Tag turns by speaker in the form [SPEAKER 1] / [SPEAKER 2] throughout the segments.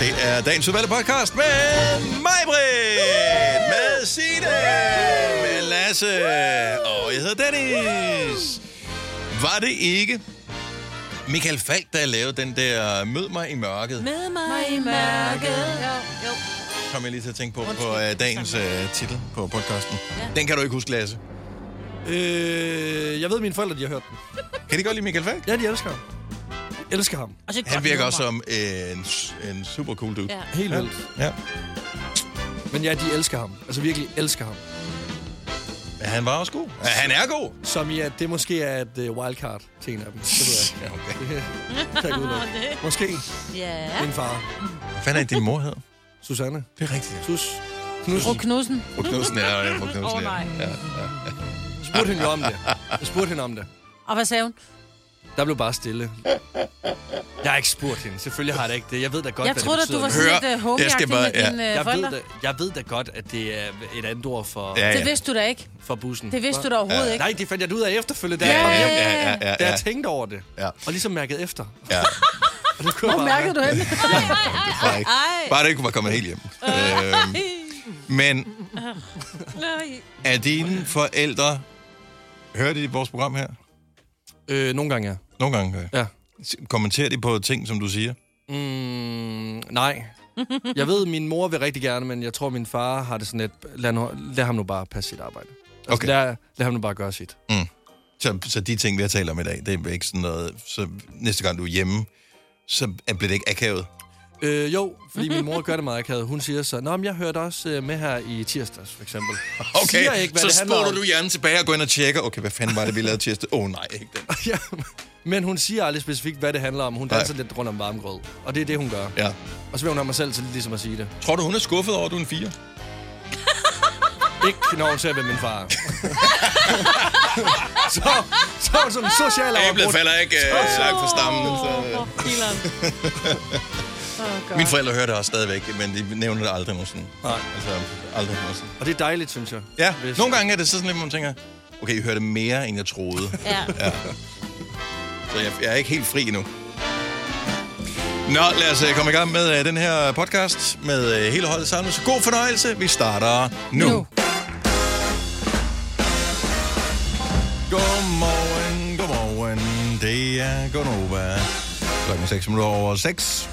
[SPEAKER 1] Det er dagens udvalgte podcast med mig, Britt, med Signe, med Lasse, og jeg hedder Dennis. Var det ikke Michael Falk, der lavede den der Mød mig i mørket?
[SPEAKER 2] Med mig i mørket. Ja, jo.
[SPEAKER 1] kom jeg lige til at tænke på, på uh, dagens uh, titel på podcasten. Den kan du ikke huske, Lasse.
[SPEAKER 3] Øh, jeg ved, at mine forældre de har hørt den.
[SPEAKER 1] Kan de godt lide Michael Falk?
[SPEAKER 3] Ja, de elsker ham. Elsker ham.
[SPEAKER 2] Og så et
[SPEAKER 1] Han
[SPEAKER 2] godt
[SPEAKER 1] virker
[SPEAKER 2] nummer.
[SPEAKER 1] også som en, en super cool dude.
[SPEAKER 2] Ja.
[SPEAKER 3] Helt vildt.
[SPEAKER 1] Ja.
[SPEAKER 3] Men ja, de elsker ham. Altså virkelig elsker ham.
[SPEAKER 1] Men han var også god. Ja, han er god.
[SPEAKER 3] Som i, at det måske er et uh, wildcard til en af dem. Det ved jeg ikke.
[SPEAKER 1] Ja, okay.
[SPEAKER 3] Kan jeg ikke udelukke. Måske
[SPEAKER 2] Ja.
[SPEAKER 3] min far.
[SPEAKER 1] Hvad fanden er det, din mor hed?
[SPEAKER 3] Susanne.
[SPEAKER 1] Det er rigtigt.
[SPEAKER 3] Sus. Knudsen.
[SPEAKER 2] Og Knudsen.
[SPEAKER 1] Brug Knudsen, ja. ja, Brug Knudsen,
[SPEAKER 2] Åh,
[SPEAKER 1] ja.
[SPEAKER 2] nej.
[SPEAKER 1] ja.
[SPEAKER 3] Jeg spurgte hende jo om det. Jeg spurgte hende om det.
[SPEAKER 2] Og hvad sagde hun?
[SPEAKER 3] Der blev bare stille. Jeg har ikke spurgt hende. Selvfølgelig har jeg da ikke det. Jeg ved da godt,
[SPEAKER 2] Jeg
[SPEAKER 3] hvad
[SPEAKER 2] troede,
[SPEAKER 3] det
[SPEAKER 2] at du
[SPEAKER 3] betyder.
[SPEAKER 2] var
[SPEAKER 1] Hør,
[SPEAKER 2] sådan lidt homie
[SPEAKER 1] jeg skal bare-
[SPEAKER 2] med
[SPEAKER 1] ja.
[SPEAKER 2] dine øh,
[SPEAKER 3] jeg ved,
[SPEAKER 2] forældre.
[SPEAKER 3] da, jeg ved da godt, at det er et andet ord for,
[SPEAKER 1] Ja,
[SPEAKER 3] ja.
[SPEAKER 2] Det
[SPEAKER 1] ja.
[SPEAKER 2] vidste du da ikke.
[SPEAKER 3] for bussen.
[SPEAKER 2] Det vidste du da overhovedet ikke.
[SPEAKER 3] Nej, det fandt jeg da ud af efterfølgende, da,
[SPEAKER 1] Ja,
[SPEAKER 3] jeg, kom
[SPEAKER 1] ja,
[SPEAKER 3] hjem,
[SPEAKER 1] ja, ja, ja,
[SPEAKER 3] da
[SPEAKER 1] ja.
[SPEAKER 3] jeg tænkte over det.
[SPEAKER 1] Ja.
[SPEAKER 3] Og ligesom mærkede efter.
[SPEAKER 1] ja.
[SPEAKER 3] Og det kunne jeg
[SPEAKER 2] Hvor
[SPEAKER 3] bare-
[SPEAKER 2] mærkede du hende?
[SPEAKER 1] Bare, ikke. bare det ikke var kommet helt hjem. øhm, men er dine forældre... Hørte de vores program her?
[SPEAKER 3] Øh, nogle gange, ja.
[SPEAKER 1] Nogle gange. øh,
[SPEAKER 3] ja.
[SPEAKER 1] Kommenterer de på ting, som du siger?
[SPEAKER 3] Mm, nej. Jeg ved, min mor vil rigtig gerne, men jeg tror, min far har det sådan lidt... Lad, nu, lad ham nu bare passe sit arbejde. Altså,
[SPEAKER 1] Okay.
[SPEAKER 3] lad, lad ham nu bare gøre sit.
[SPEAKER 1] Så, så de ting, vi har talt om i dag, det er ikke sådan noget... Så næste gang, du er hjemme, så er- bliver det ikke akavet.
[SPEAKER 3] Øh, jo, fordi min mor gør det meget akavet. Hun siger så, Nå, men jeg hørte også øh, med her i tirsdags, for eksempel. Siger ikke, hvad
[SPEAKER 1] så
[SPEAKER 3] det handler
[SPEAKER 1] spoler
[SPEAKER 3] om.
[SPEAKER 1] du hjernen tilbage og går ind og tjekker, okay, hvad fanden var det, vi lavede tirsdag? Åh oh, nej, ikke den.
[SPEAKER 3] ja, men hun siger aldrig specifikt, hvad det handler om. Hun danser lidt rundt om varmgrød, og det er det, hun gør.
[SPEAKER 1] Ja.
[SPEAKER 3] Og så vil hun have mig selv til ligesom at sige det.
[SPEAKER 1] Tror du, hun er skuffet over, at du er en fire?
[SPEAKER 3] Ikke når hun ser, hvem min far er. så, så er hun sådan social
[SPEAKER 1] Æblet
[SPEAKER 3] afbrudt.
[SPEAKER 1] falder ikke øh, langt fra stammen. Så, øh. Mine forældre hører det også stadigvæk, men de nævner det aldrig nogensinde.
[SPEAKER 3] Nej.
[SPEAKER 1] Altså, aldrig nogensinde.
[SPEAKER 3] Og det er dejligt, synes jeg.
[SPEAKER 1] Ja,
[SPEAKER 3] Hvis-
[SPEAKER 1] nogle gange er det så sådan lidt, hvor man tænker, okay, I hører det mere, end jeg troede.
[SPEAKER 2] Ja.
[SPEAKER 1] Så jeg, jeg er ikke helt fri endnu. Nå, lad os øh, komme i gang med øh, den her podcast med øh, hele holdet sammen. Så god fornøjelse. Vi starter nu. nu.
[SPEAKER 2] Nu.
[SPEAKER 1] Godmorgen, godmorgen. Det er Gonova. Klokken 6 minutter over 6.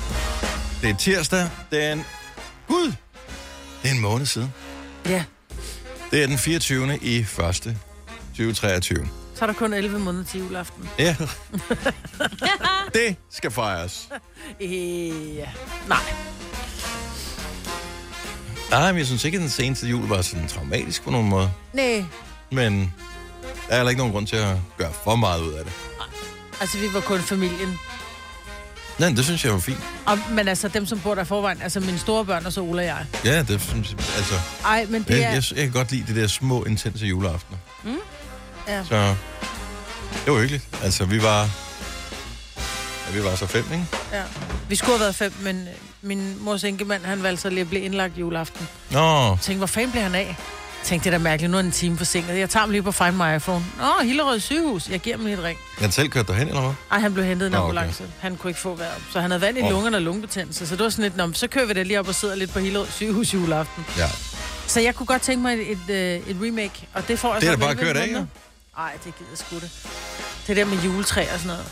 [SPEAKER 1] Det er tirsdag. Den... Gud! Det er en måned siden.
[SPEAKER 2] ja.
[SPEAKER 1] Det er den 24. i 1. 2023.
[SPEAKER 2] Så er der kun 11 måneder til juleaften.
[SPEAKER 1] Ja. det skal fejres.
[SPEAKER 2] Øh, ja. Nej.
[SPEAKER 1] Nej, Ah, men jeg synes ikke, at den seneste jul var sådan traumatisk på nogen måde.
[SPEAKER 2] Nej.
[SPEAKER 1] Men der er heller ikke nogen grund til at gøre for meget ud af det.
[SPEAKER 2] Altså, vi var kun familien.
[SPEAKER 1] Nej, det synes jeg var fint.
[SPEAKER 2] Og, men altså, dem, som bor der i forvejen, altså mine store børn og så Ola og jeg.
[SPEAKER 1] Ja, det synes jeg, altså,
[SPEAKER 2] Ej, men
[SPEAKER 1] jeg,
[SPEAKER 2] det er...
[SPEAKER 1] jeg, jeg kan godt lide de der små, intense juleaftener. Mm.
[SPEAKER 2] Ja.
[SPEAKER 1] Så det var hyggeligt. Altså, vi var... Ja, vi var så fem, ikke?
[SPEAKER 2] Ja. Vi skulle have været fem, men øh, min mors enkemand, han valgte så lige at blive indlagt juleaften.
[SPEAKER 1] Nå,
[SPEAKER 2] tænkte, hvor fanden bliver han af? Tænkte, det er da mærkeligt, nu er den en time forsinket. Jeg tager ham lige på Find My iPhone. Åh, Hillerød sygehus. Jeg giver ham lige et ring.
[SPEAKER 1] jeg selv kørte derhen, eller hvad?
[SPEAKER 2] Ej, han blev hentet i en
[SPEAKER 1] Nå, okay.
[SPEAKER 2] ambulance. Okay. Han kunne ikke få vejret. Så han havde vand i
[SPEAKER 1] Åh.
[SPEAKER 2] lungerne og lungebetændelse. Så det var sådan lidt, "Nå, men så kører vi da lige op og sidder lidt på Hillerød sygehus juleaften.
[SPEAKER 1] Ja.
[SPEAKER 2] Så jeg kunne godt tænke mig et, et, øh, et remake, og det får jeg
[SPEAKER 1] Det er
[SPEAKER 2] så
[SPEAKER 1] da bare
[SPEAKER 2] om 11
[SPEAKER 1] kørt af,
[SPEAKER 2] måneder. Ej, det gider jeg sgu det. Det der med juletræ og sådan noget.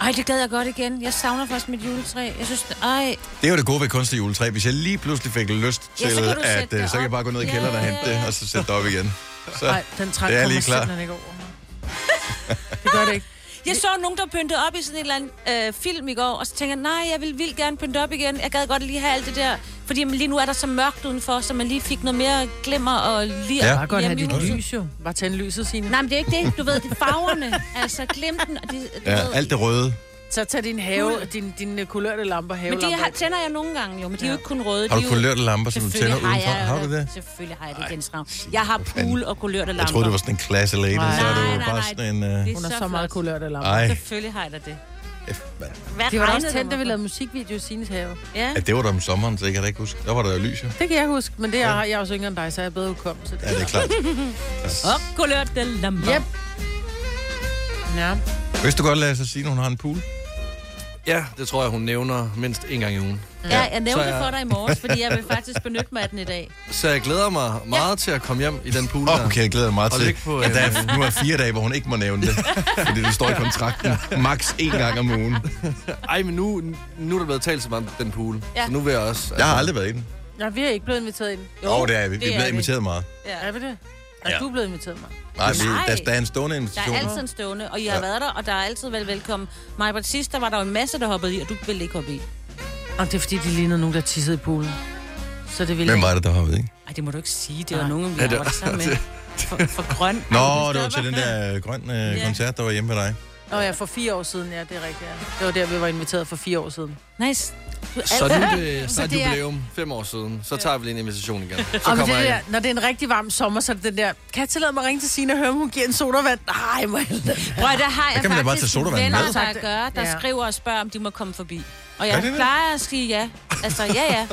[SPEAKER 4] Ej, det gad jeg godt igen. Jeg savner faktisk mit juletræ. Jeg synes, ej,
[SPEAKER 1] Det er jo det gode ved kunstig juletræ. Hvis jeg lige pludselig fik lyst til,
[SPEAKER 4] Ja, så kan du
[SPEAKER 1] at
[SPEAKER 4] sætte
[SPEAKER 1] øh,
[SPEAKER 4] det
[SPEAKER 1] så kan jeg
[SPEAKER 4] op.
[SPEAKER 1] bare gå ned i kælderen og
[SPEAKER 4] Ja,
[SPEAKER 1] hente
[SPEAKER 4] ja,
[SPEAKER 1] det,
[SPEAKER 4] ja.
[SPEAKER 1] og så sætte det op igen. Så
[SPEAKER 2] Nej, den træk
[SPEAKER 1] det er jeg
[SPEAKER 2] kommer
[SPEAKER 1] lige klar.
[SPEAKER 2] simpelthen ikke over. Det gør det ikke.
[SPEAKER 4] jeg så nogen, der pyntede op i sådan en eller anden øh, film i går, og så tænker jeg, nej, jeg vil vildt gerne pynte op igen. Jeg gad godt lige have alt det der, fordi lige nu er der så mørkt udenfor, så man lige fik noget mere glimmer og lir.
[SPEAKER 1] Ja.
[SPEAKER 2] Bare godt have
[SPEAKER 4] hjemme i
[SPEAKER 2] dit
[SPEAKER 4] huset.
[SPEAKER 2] lys jo. Bare tænde lyset, Signe.
[SPEAKER 4] Nej, men det er ikke det. Du ved, det er farverne. Altså, glem den. Og de, du
[SPEAKER 1] ja,
[SPEAKER 4] ved.
[SPEAKER 1] alt det røde.
[SPEAKER 2] Så tag din have, din, din øh, kulørte lamper,
[SPEAKER 4] Men de
[SPEAKER 2] havelamper.
[SPEAKER 4] har, tænder jeg nogle gange jo, men de er jo ikke kun røde.
[SPEAKER 1] Har
[SPEAKER 4] de
[SPEAKER 1] du
[SPEAKER 4] er jo-
[SPEAKER 1] kulørte lamper, som du tænder
[SPEAKER 4] Selvfølgelig har
[SPEAKER 1] udenfor?
[SPEAKER 4] jeg
[SPEAKER 1] Har du det?
[SPEAKER 4] Selvfølgelig har jeg det, Jens Ravn. Jeg har pool og kulørte lamper.
[SPEAKER 1] Jeg troede, det var sådan en klasse lady,
[SPEAKER 2] Nej.
[SPEAKER 1] så er det
[SPEAKER 4] Nej,
[SPEAKER 1] jo
[SPEAKER 4] nej,
[SPEAKER 1] bare
[SPEAKER 4] nej.
[SPEAKER 1] sådan en... Øh...
[SPEAKER 4] Det
[SPEAKER 2] Hun har så
[SPEAKER 4] flot.
[SPEAKER 2] meget kulørte lamper.
[SPEAKER 1] Ej,
[SPEAKER 4] Selvfølgelig har jeg da det.
[SPEAKER 1] F, mand.
[SPEAKER 4] Hvad
[SPEAKER 2] De var da også
[SPEAKER 4] regnede
[SPEAKER 2] tændt, da vi
[SPEAKER 4] du mig
[SPEAKER 2] lavede musikvideo i Sines have.
[SPEAKER 4] for? Ja.
[SPEAKER 1] ja, det var da om sommeren, så jeg kan da ikke huske. Der var der jo lys, jo.
[SPEAKER 2] Det kan jeg huske, men det er, jeg er også yngre end dig, så jeg er bedre hukommelse.
[SPEAKER 1] Ja, det er klart.
[SPEAKER 4] Og kulørte lamper.
[SPEAKER 2] Yep. Ja.
[SPEAKER 1] Hvis du godt lade sig sige, at hun har en pool?
[SPEAKER 3] Ja, det tror jeg, hun nævner mindst en gang i ugen.
[SPEAKER 4] Ja, jeg nævnte
[SPEAKER 3] Så
[SPEAKER 4] det
[SPEAKER 3] jeg-
[SPEAKER 4] for dig i morges, fordi jeg vil faktisk benytte mig af den i dag.
[SPEAKER 3] Så jeg glæder mig meget til at komme hjem i den pool der.
[SPEAKER 1] Okay, jeg glæder mig meget
[SPEAKER 3] Og
[SPEAKER 1] til,
[SPEAKER 3] ligge på,
[SPEAKER 1] at der
[SPEAKER 3] øh,
[SPEAKER 1] er, nu er fire dage, hvor hun ikke må nævne det. Fordi det står i kontrakten. Max én gang om ugen.
[SPEAKER 3] Ej, men nu, nu er der blevet talt så meget om den pool.
[SPEAKER 4] Ja.
[SPEAKER 3] Ja. Så nu vil jeg også...
[SPEAKER 1] Jeg har aldrig været i den.
[SPEAKER 2] Ja, vi er ikke blevet inviteret ind.
[SPEAKER 1] Åh, oh, det er vi. Vi
[SPEAKER 4] det er
[SPEAKER 1] bliver
[SPEAKER 4] vi.
[SPEAKER 1] inviteret meget.
[SPEAKER 2] Er vi det? Er
[SPEAKER 1] Ja.
[SPEAKER 2] ja. du blevet inviteret, mig?
[SPEAKER 1] Nej, vi,
[SPEAKER 4] Nej.
[SPEAKER 1] der, der er en stående
[SPEAKER 4] Der
[SPEAKER 1] invitation.
[SPEAKER 4] er altid en stående, og I har ja. været der, og der er altid vel velkommen. Mig på sidst, der var der jo en masse, der hoppede i, og du ville ikke hoppe i.
[SPEAKER 2] Og det er fordi, de lignede nogen, der tissede i poolen. Så det ville
[SPEAKER 1] Hvem
[SPEAKER 2] jeg
[SPEAKER 1] var det, der hoppede i?
[SPEAKER 4] Ej, det må du ikke sige. Det var
[SPEAKER 2] Nej.
[SPEAKER 4] nogen, vi arbejder sammen med. For, for grøn.
[SPEAKER 1] Nå, det var til den der øh, grøn øh,
[SPEAKER 4] Ja.
[SPEAKER 1] koncert, der var hjemme ved dig.
[SPEAKER 2] ikke. Nå ja, for fire år siden, ja, det er rigtigt. Ja. Det var der, vi var inviteret for fire år siden.
[SPEAKER 4] Nice. Du er
[SPEAKER 3] Så nu er det
[SPEAKER 4] Så
[SPEAKER 3] snart
[SPEAKER 4] det er-
[SPEAKER 3] jubilæum, fem år siden. Så tager vi lige en invitation igen. Så
[SPEAKER 2] Og det
[SPEAKER 3] kommer
[SPEAKER 2] der,
[SPEAKER 3] jeg
[SPEAKER 2] når det er en rigtig varm sommer, så er det den der, kan jeg tillade mig at ringe til Signe og høre, om hun giver en sodavand? Nej, må jeg
[SPEAKER 4] Prøv, der har jeg
[SPEAKER 1] kan man da bare
[SPEAKER 4] faktisk
[SPEAKER 1] tage sodavand
[SPEAKER 4] venner,
[SPEAKER 1] med.
[SPEAKER 4] der gør, der
[SPEAKER 2] Ja.
[SPEAKER 4] skriver og spørger, om de må komme forbi. Og
[SPEAKER 1] Er
[SPEAKER 4] jeg
[SPEAKER 1] det det?
[SPEAKER 4] plejer at sige ja. Altså, ja, ja.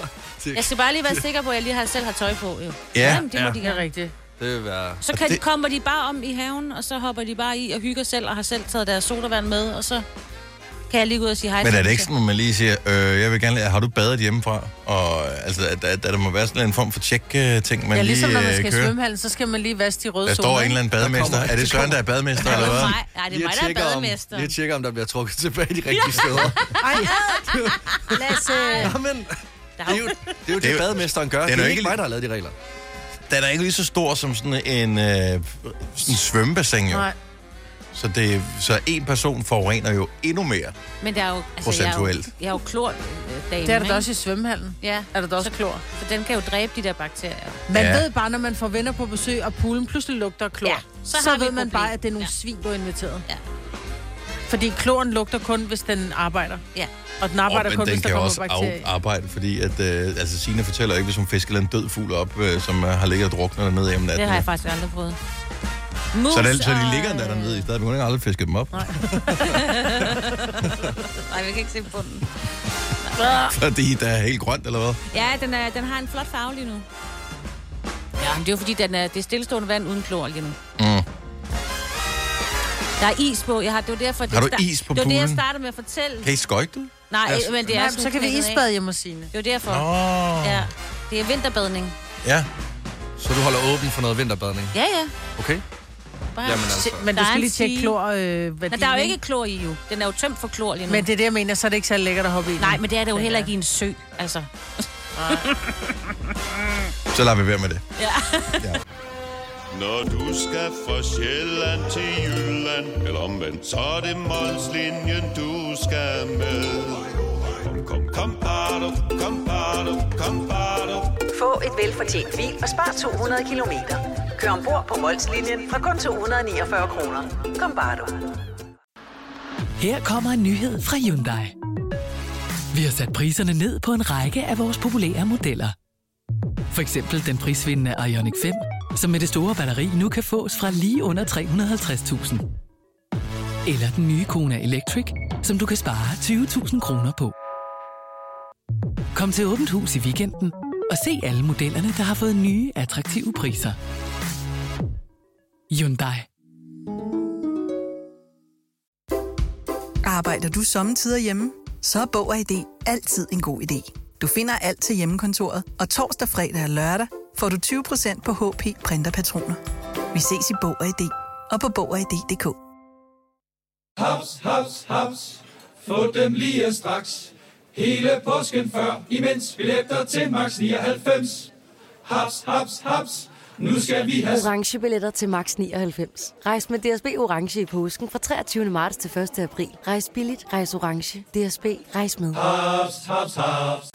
[SPEAKER 3] Det-
[SPEAKER 4] Jeg skal bare lige være sikker på, at jeg lige har, selv har tøj på, jo.
[SPEAKER 1] Ja.
[SPEAKER 4] Jamen, det må
[SPEAKER 3] Ja.
[SPEAKER 4] de
[SPEAKER 2] Det er
[SPEAKER 4] gøre.
[SPEAKER 2] rigtigt.
[SPEAKER 3] Det vil være...
[SPEAKER 4] Så kan,
[SPEAKER 1] Det-
[SPEAKER 4] det... kommer de bare om i haven, og så hopper de bare i og hygger selv, og har selv taget deres sodavand med, og så kan jeg lige gå ud og sige hej.
[SPEAKER 1] Men
[SPEAKER 2] Altså,
[SPEAKER 4] til
[SPEAKER 1] er det
[SPEAKER 4] dem,
[SPEAKER 1] ikke
[SPEAKER 4] så-
[SPEAKER 1] sådan, at man lige siger, øh, jeg vil gerne lære, har du badet hjemmefra? Og øh, altså, at, at, at der må være sådan en form for tjek-ting, man
[SPEAKER 2] Ja,
[SPEAKER 1] ja,
[SPEAKER 2] ligesom når man
[SPEAKER 1] lige
[SPEAKER 2] skal
[SPEAKER 1] øh,
[SPEAKER 2] i
[SPEAKER 1] kører.
[SPEAKER 2] svømmehallen, så skal man lige vaske de røde
[SPEAKER 1] Der står en eller anden bademester.
[SPEAKER 3] Der kommer-
[SPEAKER 1] Er det Søren, der er bademester, eller hvad?
[SPEAKER 4] Nej, nej, det er
[SPEAKER 3] Lige
[SPEAKER 4] mig,
[SPEAKER 3] at
[SPEAKER 4] der er
[SPEAKER 3] tjekke, om,
[SPEAKER 4] bademester.
[SPEAKER 3] lige at tjekke, om der bliver trukket tilbage de rigtige steder.
[SPEAKER 2] Ej, Lasse.
[SPEAKER 3] Jamen,
[SPEAKER 4] Der
[SPEAKER 3] det er jo det, er jo det,
[SPEAKER 1] jo-
[SPEAKER 3] bademesteren gør.
[SPEAKER 1] det er
[SPEAKER 3] Det
[SPEAKER 1] jo
[SPEAKER 3] er, det
[SPEAKER 1] ikke
[SPEAKER 3] er ikke
[SPEAKER 1] lige-
[SPEAKER 3] mig, der har lavet de regler.
[SPEAKER 1] Den er ikke lige så stor som sådan en, øh, sådan en svømmebassin, jo.
[SPEAKER 2] Nej.
[SPEAKER 1] Så, det, så en person forurener jo endnu mere.
[SPEAKER 4] Men der er jo... Altså,
[SPEAKER 1] Procentuelt.
[SPEAKER 4] Jeg er jo, jeg er jo klort, øh, dame,
[SPEAKER 2] Det er der da
[SPEAKER 4] ikke?
[SPEAKER 2] også i svømmehallen.
[SPEAKER 4] Ja,
[SPEAKER 2] Er der da også klor?
[SPEAKER 4] for den kan jo dræbe de der bakterier.
[SPEAKER 2] Man
[SPEAKER 1] Ja.
[SPEAKER 2] ja. ved bare, når man får venner på besøg, og poolen pludselig lugter af klor,
[SPEAKER 4] Ja,
[SPEAKER 2] ja,
[SPEAKER 4] så
[SPEAKER 2] så,
[SPEAKER 4] har
[SPEAKER 2] så
[SPEAKER 4] vi
[SPEAKER 2] ved
[SPEAKER 4] et
[SPEAKER 2] man
[SPEAKER 4] problem.
[SPEAKER 2] bare, at det er nogle
[SPEAKER 4] Ja.
[SPEAKER 2] ja. svin, du har inviteret.
[SPEAKER 4] Ja.
[SPEAKER 2] Fordi kloren lugter kun, hvis den arbejder.
[SPEAKER 4] Ja.
[SPEAKER 2] Og den
[SPEAKER 1] Og,
[SPEAKER 2] arbejder
[SPEAKER 1] men
[SPEAKER 2] kun,
[SPEAKER 1] den
[SPEAKER 2] hvis der
[SPEAKER 1] kan jo
[SPEAKER 2] kommer
[SPEAKER 1] også
[SPEAKER 2] bakterier.
[SPEAKER 1] af, arbejde, fordi at, øh, altså Signe fortæller ikke, hvis hun fisker en død fugl op, øh, som øh, har ligget og druknet dernede om natten.
[SPEAKER 4] Det har jeg faktisk aldrig prøvet. Mus
[SPEAKER 1] så, der, så de
[SPEAKER 4] og-
[SPEAKER 1] ligger der dernede i stedet. Hun har aldrig fisket dem op,
[SPEAKER 4] Nej, vi kan ikke se bunden.
[SPEAKER 1] fordi der er helt grønt, eller hvad?
[SPEAKER 4] Ja, den, er, den har en flot farve lige nu. Ja, men det er jo fordi, den er, det er stillestående vand uden klor lige nu. Mm. Der er is på. Jeg har, det var derfor, det
[SPEAKER 1] Har du
[SPEAKER 4] sta-
[SPEAKER 1] is på
[SPEAKER 4] Det var det, jeg
[SPEAKER 1] poolen?
[SPEAKER 4] startede med at fortælle.
[SPEAKER 1] Kan I skøjte det?
[SPEAKER 4] Nej, øh, men det er
[SPEAKER 2] Ja,
[SPEAKER 4] sådan
[SPEAKER 2] så kan vi
[SPEAKER 4] knækket af.
[SPEAKER 2] isbade hjemme hos Signe.
[SPEAKER 4] Det er jo derfor.
[SPEAKER 1] Åh.
[SPEAKER 4] Ja, det er vinterbadning.
[SPEAKER 1] Ja.
[SPEAKER 3] Så du holder åben for noget vinterbadning,
[SPEAKER 4] Ja, ja.
[SPEAKER 3] okay?
[SPEAKER 4] Bare.
[SPEAKER 3] Jamen altså.
[SPEAKER 2] Men
[SPEAKER 4] Der
[SPEAKER 2] du
[SPEAKER 4] er en
[SPEAKER 2] skal lige tjekke
[SPEAKER 4] stige.
[SPEAKER 2] klor, øh,
[SPEAKER 4] Men der er jo ikke klor i jo. Den er jo tømt for klor lige nu.
[SPEAKER 2] Men det er det, jeg mener, så er det ikke så lækkert at hoppe i. den.
[SPEAKER 4] Nej, men det er det jo heller ikke i en sø, altså.
[SPEAKER 1] Så lader vi være med det.
[SPEAKER 5] Når du skal fra Sjælland til Jylland Eller omvendt, så er det Molslinjen, du skal med Kom, kom, kom, bado, kom, bado, kom, bado.
[SPEAKER 6] Få et velfortjent bil og spar 200 kilometer. Kør ombord på Molslinjen fra kun 249 kroner. Kom bare du.
[SPEAKER 7] Her kommer en nyhed fra Hyundai. Vi har sat priserne ned på en række af vores populære modeller. For eksempel den prisvindende Ioniq 5, som med det store batteri nu kan fås fra lige under 350.000. Eller den nye Kona Electric, som du kan spare 20.000 kroner på. Kom til Åbent Hus i weekenden og se alle modellerne, der har fået nye, attraktive priser. Hyundai.
[SPEAKER 8] Arbejder du sommetider hjemme? Så er Bog og ID altid en god idé. Du finder alt til hjemmekontoret, og torsdag, fredag og lørdag får du 20% på HP Printerpatroner. Vi ses i Bog og ID og på Bog og ID.dk.
[SPEAKER 9] Haps, haps, haps. Få dem lige straks. Hele påsken før, imens billetter til max 99. Haps, haps, haps. Nu skal vi have
[SPEAKER 10] Orange billetter til max 99. Rejs med DSB Orange i påsken fra 23. marts til 1. april. Rejs billigt, rejs orange. DSB, rejs med.
[SPEAKER 9] haps, haps, haps.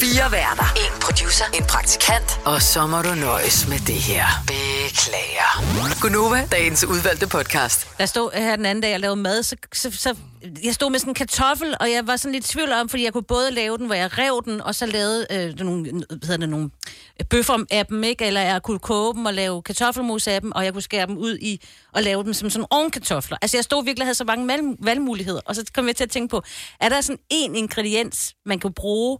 [SPEAKER 6] Fire værter. En producer. En praktikant.
[SPEAKER 7] Og så må du nøjes med det her. Beklager. Gunova, dagens udvalgte podcast.
[SPEAKER 4] Der stod her den anden dag, jeg lavede mad, så, så, så jeg stod med sådan en kartoffel, og jeg var sådan lidt i tvivl om, fordi jeg kunne både lave den, hvor jeg rev den, og så lavede øh, nogle, hvad hedder det, nogle bøffer af dem, ikke? eller jeg kunne koge dem og lave kartoffelmos af dem, og jeg kunne skære dem ud i og lave dem som sådan ovenkartofler. Altså jeg stod virkelig og havde så mange valg- valgmuligheder, og så kom jeg til at tænke på, er der sådan en ingrediens, man kan bruge,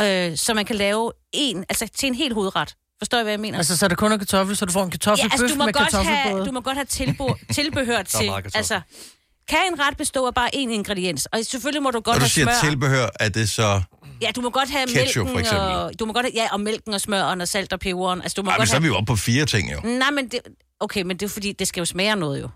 [SPEAKER 4] øh, så man kan lave en, altså til en helt hovedret? Forstår jeg, hvad jeg mener?
[SPEAKER 2] Altså, så er det kun en kartoffel, så du får en
[SPEAKER 4] Ja,
[SPEAKER 2] kartoffelbøf
[SPEAKER 4] altså, du må,
[SPEAKER 2] med
[SPEAKER 4] godt have,
[SPEAKER 2] kartoffelbåde.
[SPEAKER 4] du må godt have tilbo, tilbehør til.
[SPEAKER 3] meget kartoffel.
[SPEAKER 4] Altså, kan en ret bestå af bare én ingrediens? Og selvfølgelig må du godt
[SPEAKER 1] Når du
[SPEAKER 4] have
[SPEAKER 1] siger
[SPEAKER 4] smør.
[SPEAKER 1] tilbehør, er det så
[SPEAKER 4] Ja, du må godt have
[SPEAKER 1] Ketchup, for
[SPEAKER 4] mælken
[SPEAKER 1] eksempel.
[SPEAKER 4] og... Du må godt have, ja, og mælken og smøren og salt og peberen. Altså, du må
[SPEAKER 1] Ej, men
[SPEAKER 4] godt
[SPEAKER 1] så er
[SPEAKER 4] have...
[SPEAKER 1] vi jo oppe på fire ting, jo.
[SPEAKER 4] Nej, men det... Okay, men det er fordi, det skal jo smage af noget jo.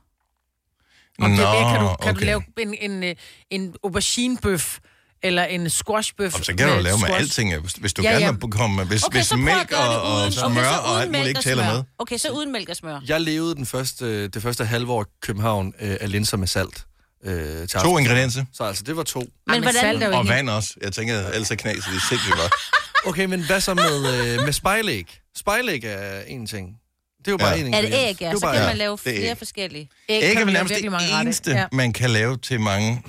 [SPEAKER 2] Om det er det, kan du, kan
[SPEAKER 1] okay.
[SPEAKER 2] du lave en, en, øh, en auberginebøf, eller en squashbøf.
[SPEAKER 1] Om, så kan du lave med
[SPEAKER 2] squash.
[SPEAKER 1] alting, jo. hvis, hvis du
[SPEAKER 2] Ja,
[SPEAKER 1] ja,
[SPEAKER 2] ja.
[SPEAKER 1] gerne vil komme... Hvis, okay, hvis
[SPEAKER 4] prøv at
[SPEAKER 1] mælk
[SPEAKER 4] gøre det
[SPEAKER 1] og, og
[SPEAKER 4] uden-
[SPEAKER 1] smør
[SPEAKER 4] okay, så
[SPEAKER 1] og
[SPEAKER 4] uden
[SPEAKER 1] alt muligt
[SPEAKER 4] mælk
[SPEAKER 1] ikke
[SPEAKER 4] og
[SPEAKER 1] tæller
[SPEAKER 4] smør.
[SPEAKER 1] med.
[SPEAKER 4] Okay, så uden mælk og smør.
[SPEAKER 3] Jeg levede den første, det første halve år i København øh, af linser med salt. Øh, til
[SPEAKER 1] To
[SPEAKER 3] aften.
[SPEAKER 1] ingredienser.
[SPEAKER 3] Så altså, det var to.
[SPEAKER 2] Ej, men
[SPEAKER 4] hvordan-
[SPEAKER 2] salt er jo
[SPEAKER 1] Og
[SPEAKER 2] ikke-
[SPEAKER 1] vand også. Jeg tænker, ellers så knaser de sindssygt godt.
[SPEAKER 3] Okay, men hvad så med, øh, med spejlæg? Spejlæg er en ting. Det er jo bare
[SPEAKER 1] Ja.
[SPEAKER 3] ja. en
[SPEAKER 4] Er det
[SPEAKER 3] ingrediens.
[SPEAKER 4] æg,
[SPEAKER 3] Det er
[SPEAKER 4] ja?
[SPEAKER 3] jo
[SPEAKER 4] Så
[SPEAKER 3] bare
[SPEAKER 4] kan
[SPEAKER 1] ja.
[SPEAKER 4] man lave
[SPEAKER 1] Det er
[SPEAKER 4] flere
[SPEAKER 1] æg.
[SPEAKER 4] forskellige.
[SPEAKER 2] Æg,
[SPEAKER 1] Æg er
[SPEAKER 2] kan
[SPEAKER 1] vel
[SPEAKER 2] man lave
[SPEAKER 1] nærmest
[SPEAKER 2] virkelig
[SPEAKER 1] det
[SPEAKER 2] mange retter.
[SPEAKER 1] eneste,
[SPEAKER 2] Ja.
[SPEAKER 1] man kan lave til mange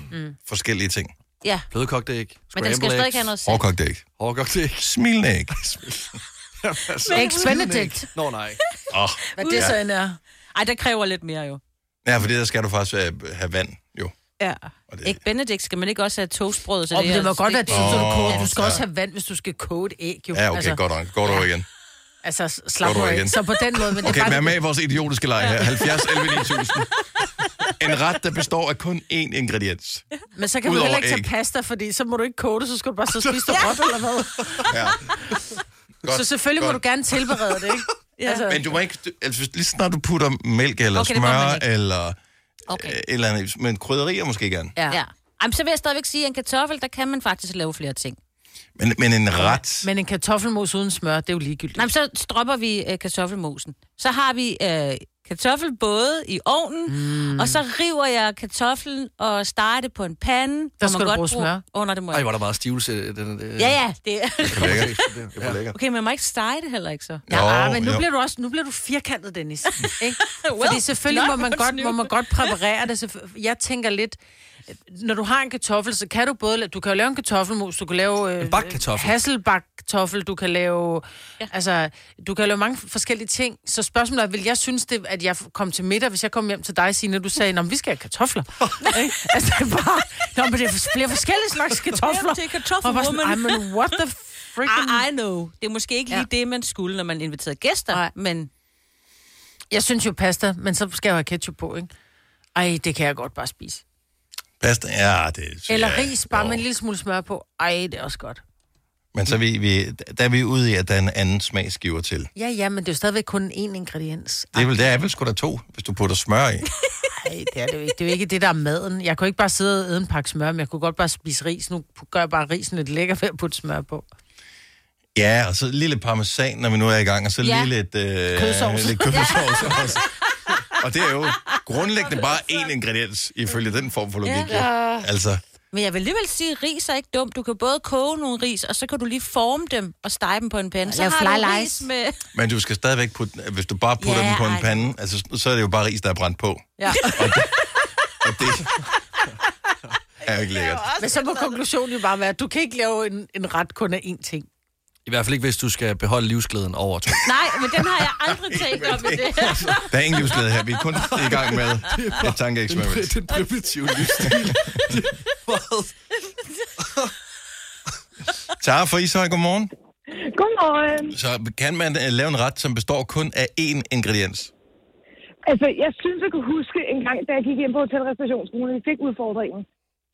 [SPEAKER 1] forskellige ting.
[SPEAKER 4] Ja,
[SPEAKER 3] Blødkogt æg.
[SPEAKER 4] men den skal jo stadig have noget salt.
[SPEAKER 1] Hårdkogt æg.
[SPEAKER 3] Hårdkogt æg.
[SPEAKER 1] Smilende æg.
[SPEAKER 2] Æg Benedict.
[SPEAKER 3] Nå nej.
[SPEAKER 1] Oh.
[SPEAKER 2] Hvad det så end er.
[SPEAKER 4] Ej, der kræver lidt mere jo.
[SPEAKER 1] Ja, for det der skal du faktisk øh, have vand, jo.
[SPEAKER 4] Ja.
[SPEAKER 1] Og det-
[SPEAKER 4] Æg Benedict skal man ikke også have toastbrød? Så
[SPEAKER 2] Og det
[SPEAKER 4] er-
[SPEAKER 2] må godt være tid, så du
[SPEAKER 1] Åh,
[SPEAKER 2] koger. Du skal
[SPEAKER 1] ja.
[SPEAKER 2] også have vand, hvis du skal koge et æg. Jo.
[SPEAKER 1] Ja, okay, godt nok. Går du over igen.
[SPEAKER 2] Altså, slap
[SPEAKER 1] Går du
[SPEAKER 2] mig
[SPEAKER 1] igen?
[SPEAKER 2] ikke. Så på den måde, men det
[SPEAKER 1] Okay,
[SPEAKER 2] er
[SPEAKER 1] vær
[SPEAKER 2] bare...
[SPEAKER 1] med i vores idiotiske leg her. 70 11 9000. En ret, der består af kun én ingrediens.
[SPEAKER 2] Men så kan du
[SPEAKER 1] Udover
[SPEAKER 2] heller ikke tage
[SPEAKER 1] æg.
[SPEAKER 2] pasta, fordi så må du ikke koge det, så skal du bare så spise det råt, eller hvad?
[SPEAKER 1] Ja. Godt,
[SPEAKER 2] Så selvfølgelig må
[SPEAKER 1] godt.
[SPEAKER 2] du gerne tilberede det, ikke? Ja. Altså,
[SPEAKER 1] Men du må ikke... du- Altså, hvis- lige så snart du putter mælk eller
[SPEAKER 4] Okay,
[SPEAKER 1] okay,
[SPEAKER 4] det må
[SPEAKER 1] smør
[SPEAKER 4] man ikke.
[SPEAKER 1] eller... Okay.
[SPEAKER 4] Okay.
[SPEAKER 1] Øh, et eller andet, men krydderier måske gerne.
[SPEAKER 2] ja.
[SPEAKER 4] Ja. Jamen, så vil jeg stadigvæk sige, at en kartoffel, der kan man faktisk lave flere ting.
[SPEAKER 1] Men, men en ret...
[SPEAKER 2] Men en kartoffelmos uden smør, det er jo ligegyldigt.
[SPEAKER 4] Nej, men så stropper vi øh, kartoffelmosen. Så har vi øh, kartoffel både i ovnen, mm. og så river jeg kartoflen og steger det på en pande.
[SPEAKER 2] Der
[SPEAKER 4] må
[SPEAKER 2] skal
[SPEAKER 4] man
[SPEAKER 2] du bruge smør.
[SPEAKER 4] Åh, oh, nej, det må
[SPEAKER 3] Ej,
[SPEAKER 4] jeg.
[SPEAKER 3] hvor er der meget stivelse. Den, øh,
[SPEAKER 4] Ja, ja, det er...
[SPEAKER 1] Det er lækkert. Det er lækkert.
[SPEAKER 4] Okay, man må ikke stege det heller ikke så.
[SPEAKER 2] Ja, ah, men nu
[SPEAKER 1] jo.
[SPEAKER 2] bliver du også nu bliver du firkantet, Dennis. Ikke? Fordi selvfølgelig må
[SPEAKER 4] nok,
[SPEAKER 2] man, godt,
[SPEAKER 4] undskyld.
[SPEAKER 2] må man godt præparere det. Så jeg tænker lidt, når du har en kartoffel, så kan du både... la- Du kan jo lave en kartoffelmos, du kan lave... Øh,
[SPEAKER 3] En bagkartoffel.
[SPEAKER 2] Hasselbakkartoffel, du kan lave... Ja. Altså, du kan lave mange forskellige ting. Så spørgsmålet er, vil jeg synes det, at jeg kom til middag, hvis jeg kom hjem til dig, Signe, du sagde, Nå, men vi skal have kartofler. Ikke? altså, det er bare... Nå, men det er flere forskellige slags kartofler.
[SPEAKER 4] det er
[SPEAKER 2] Og bare sådan,
[SPEAKER 4] kartoffelwoman.
[SPEAKER 2] Ej, men what the freaking...
[SPEAKER 4] Ah, I, I know. Det er måske ikke lige ja. det, man skulle, når man inviterede gæster,
[SPEAKER 2] Nej.
[SPEAKER 4] men
[SPEAKER 2] Jeg synes jo pasta, men så skal jeg jo have ketchup på, ikke? Ej, det kan jeg godt bare spise.
[SPEAKER 1] Pasta, ja, det...
[SPEAKER 2] Eller
[SPEAKER 1] ja,
[SPEAKER 2] ris, bare
[SPEAKER 1] åh.
[SPEAKER 2] med en lille smule smør på. Ej, det er også godt.
[SPEAKER 1] Men så er vi, vi, der er vi ude i, at der er en anden smagsgiver til.
[SPEAKER 2] Ja, ja, men det er jo stadigvæk kun én ingrediens.
[SPEAKER 1] Det er vel, der er vel sgu da to, hvis du putter smør i.
[SPEAKER 2] Ej, det er det jo ikke. Det er jo ikke det, der er maden. Jeg kunne ikke bare sidde og æde en pakke smør, men jeg kunne godt bare spise ris. Nu gør jeg bare risen lidt lækker ved at putte smør på.
[SPEAKER 1] Ja, og så lille parmesan, når vi nu er i gang, og så
[SPEAKER 4] Ja.
[SPEAKER 1] lige lidt... Øh,
[SPEAKER 2] Kødsovs.
[SPEAKER 1] Lidt kødsovs også. Og det er jo grundlæggende bare én ingrediens, ifølge den form for logik. Ja. Altså,
[SPEAKER 4] Men jeg vil alligevel sige, at ris er ikke dumt. Du kan både koge nogle ris, og så kan du lige forme dem og stege dem på en pande. Så
[SPEAKER 2] Lave
[SPEAKER 4] har
[SPEAKER 2] fly
[SPEAKER 4] du
[SPEAKER 2] lice.
[SPEAKER 4] ris med...
[SPEAKER 1] men du skal stadigvæk putte... Hvis du bare putter
[SPEAKER 4] Ja,
[SPEAKER 1] dem på en
[SPEAKER 4] ej.
[SPEAKER 1] pande, altså, så er det jo bare ris, der er brændt på.
[SPEAKER 2] Ja.
[SPEAKER 1] Og det er jo ikke lækkert.
[SPEAKER 2] Men så må konklusionen jo bare være, at du kan ikke lave en, en ret kun af én ting.
[SPEAKER 3] I hvert fald ikke, hvis du skal beholde livsglæden over to.
[SPEAKER 4] Nej, men den har jeg aldrig tænkt om i det her.
[SPEAKER 1] Der er ingen livsglæde her. Vi er kun i gang med et tankeeksperiment.
[SPEAKER 3] den primitive livsstil.
[SPEAKER 1] Tara fra Ishøj, godmorgen.
[SPEAKER 11] Godmorgen.
[SPEAKER 1] Så kan man øh, lave en ret, som består kun af én ingrediens?
[SPEAKER 11] Altså, jeg synes, jeg kunne huske en gang, da jeg gik ind på Hotel Restaurationsskolen, vi fik udfordringen.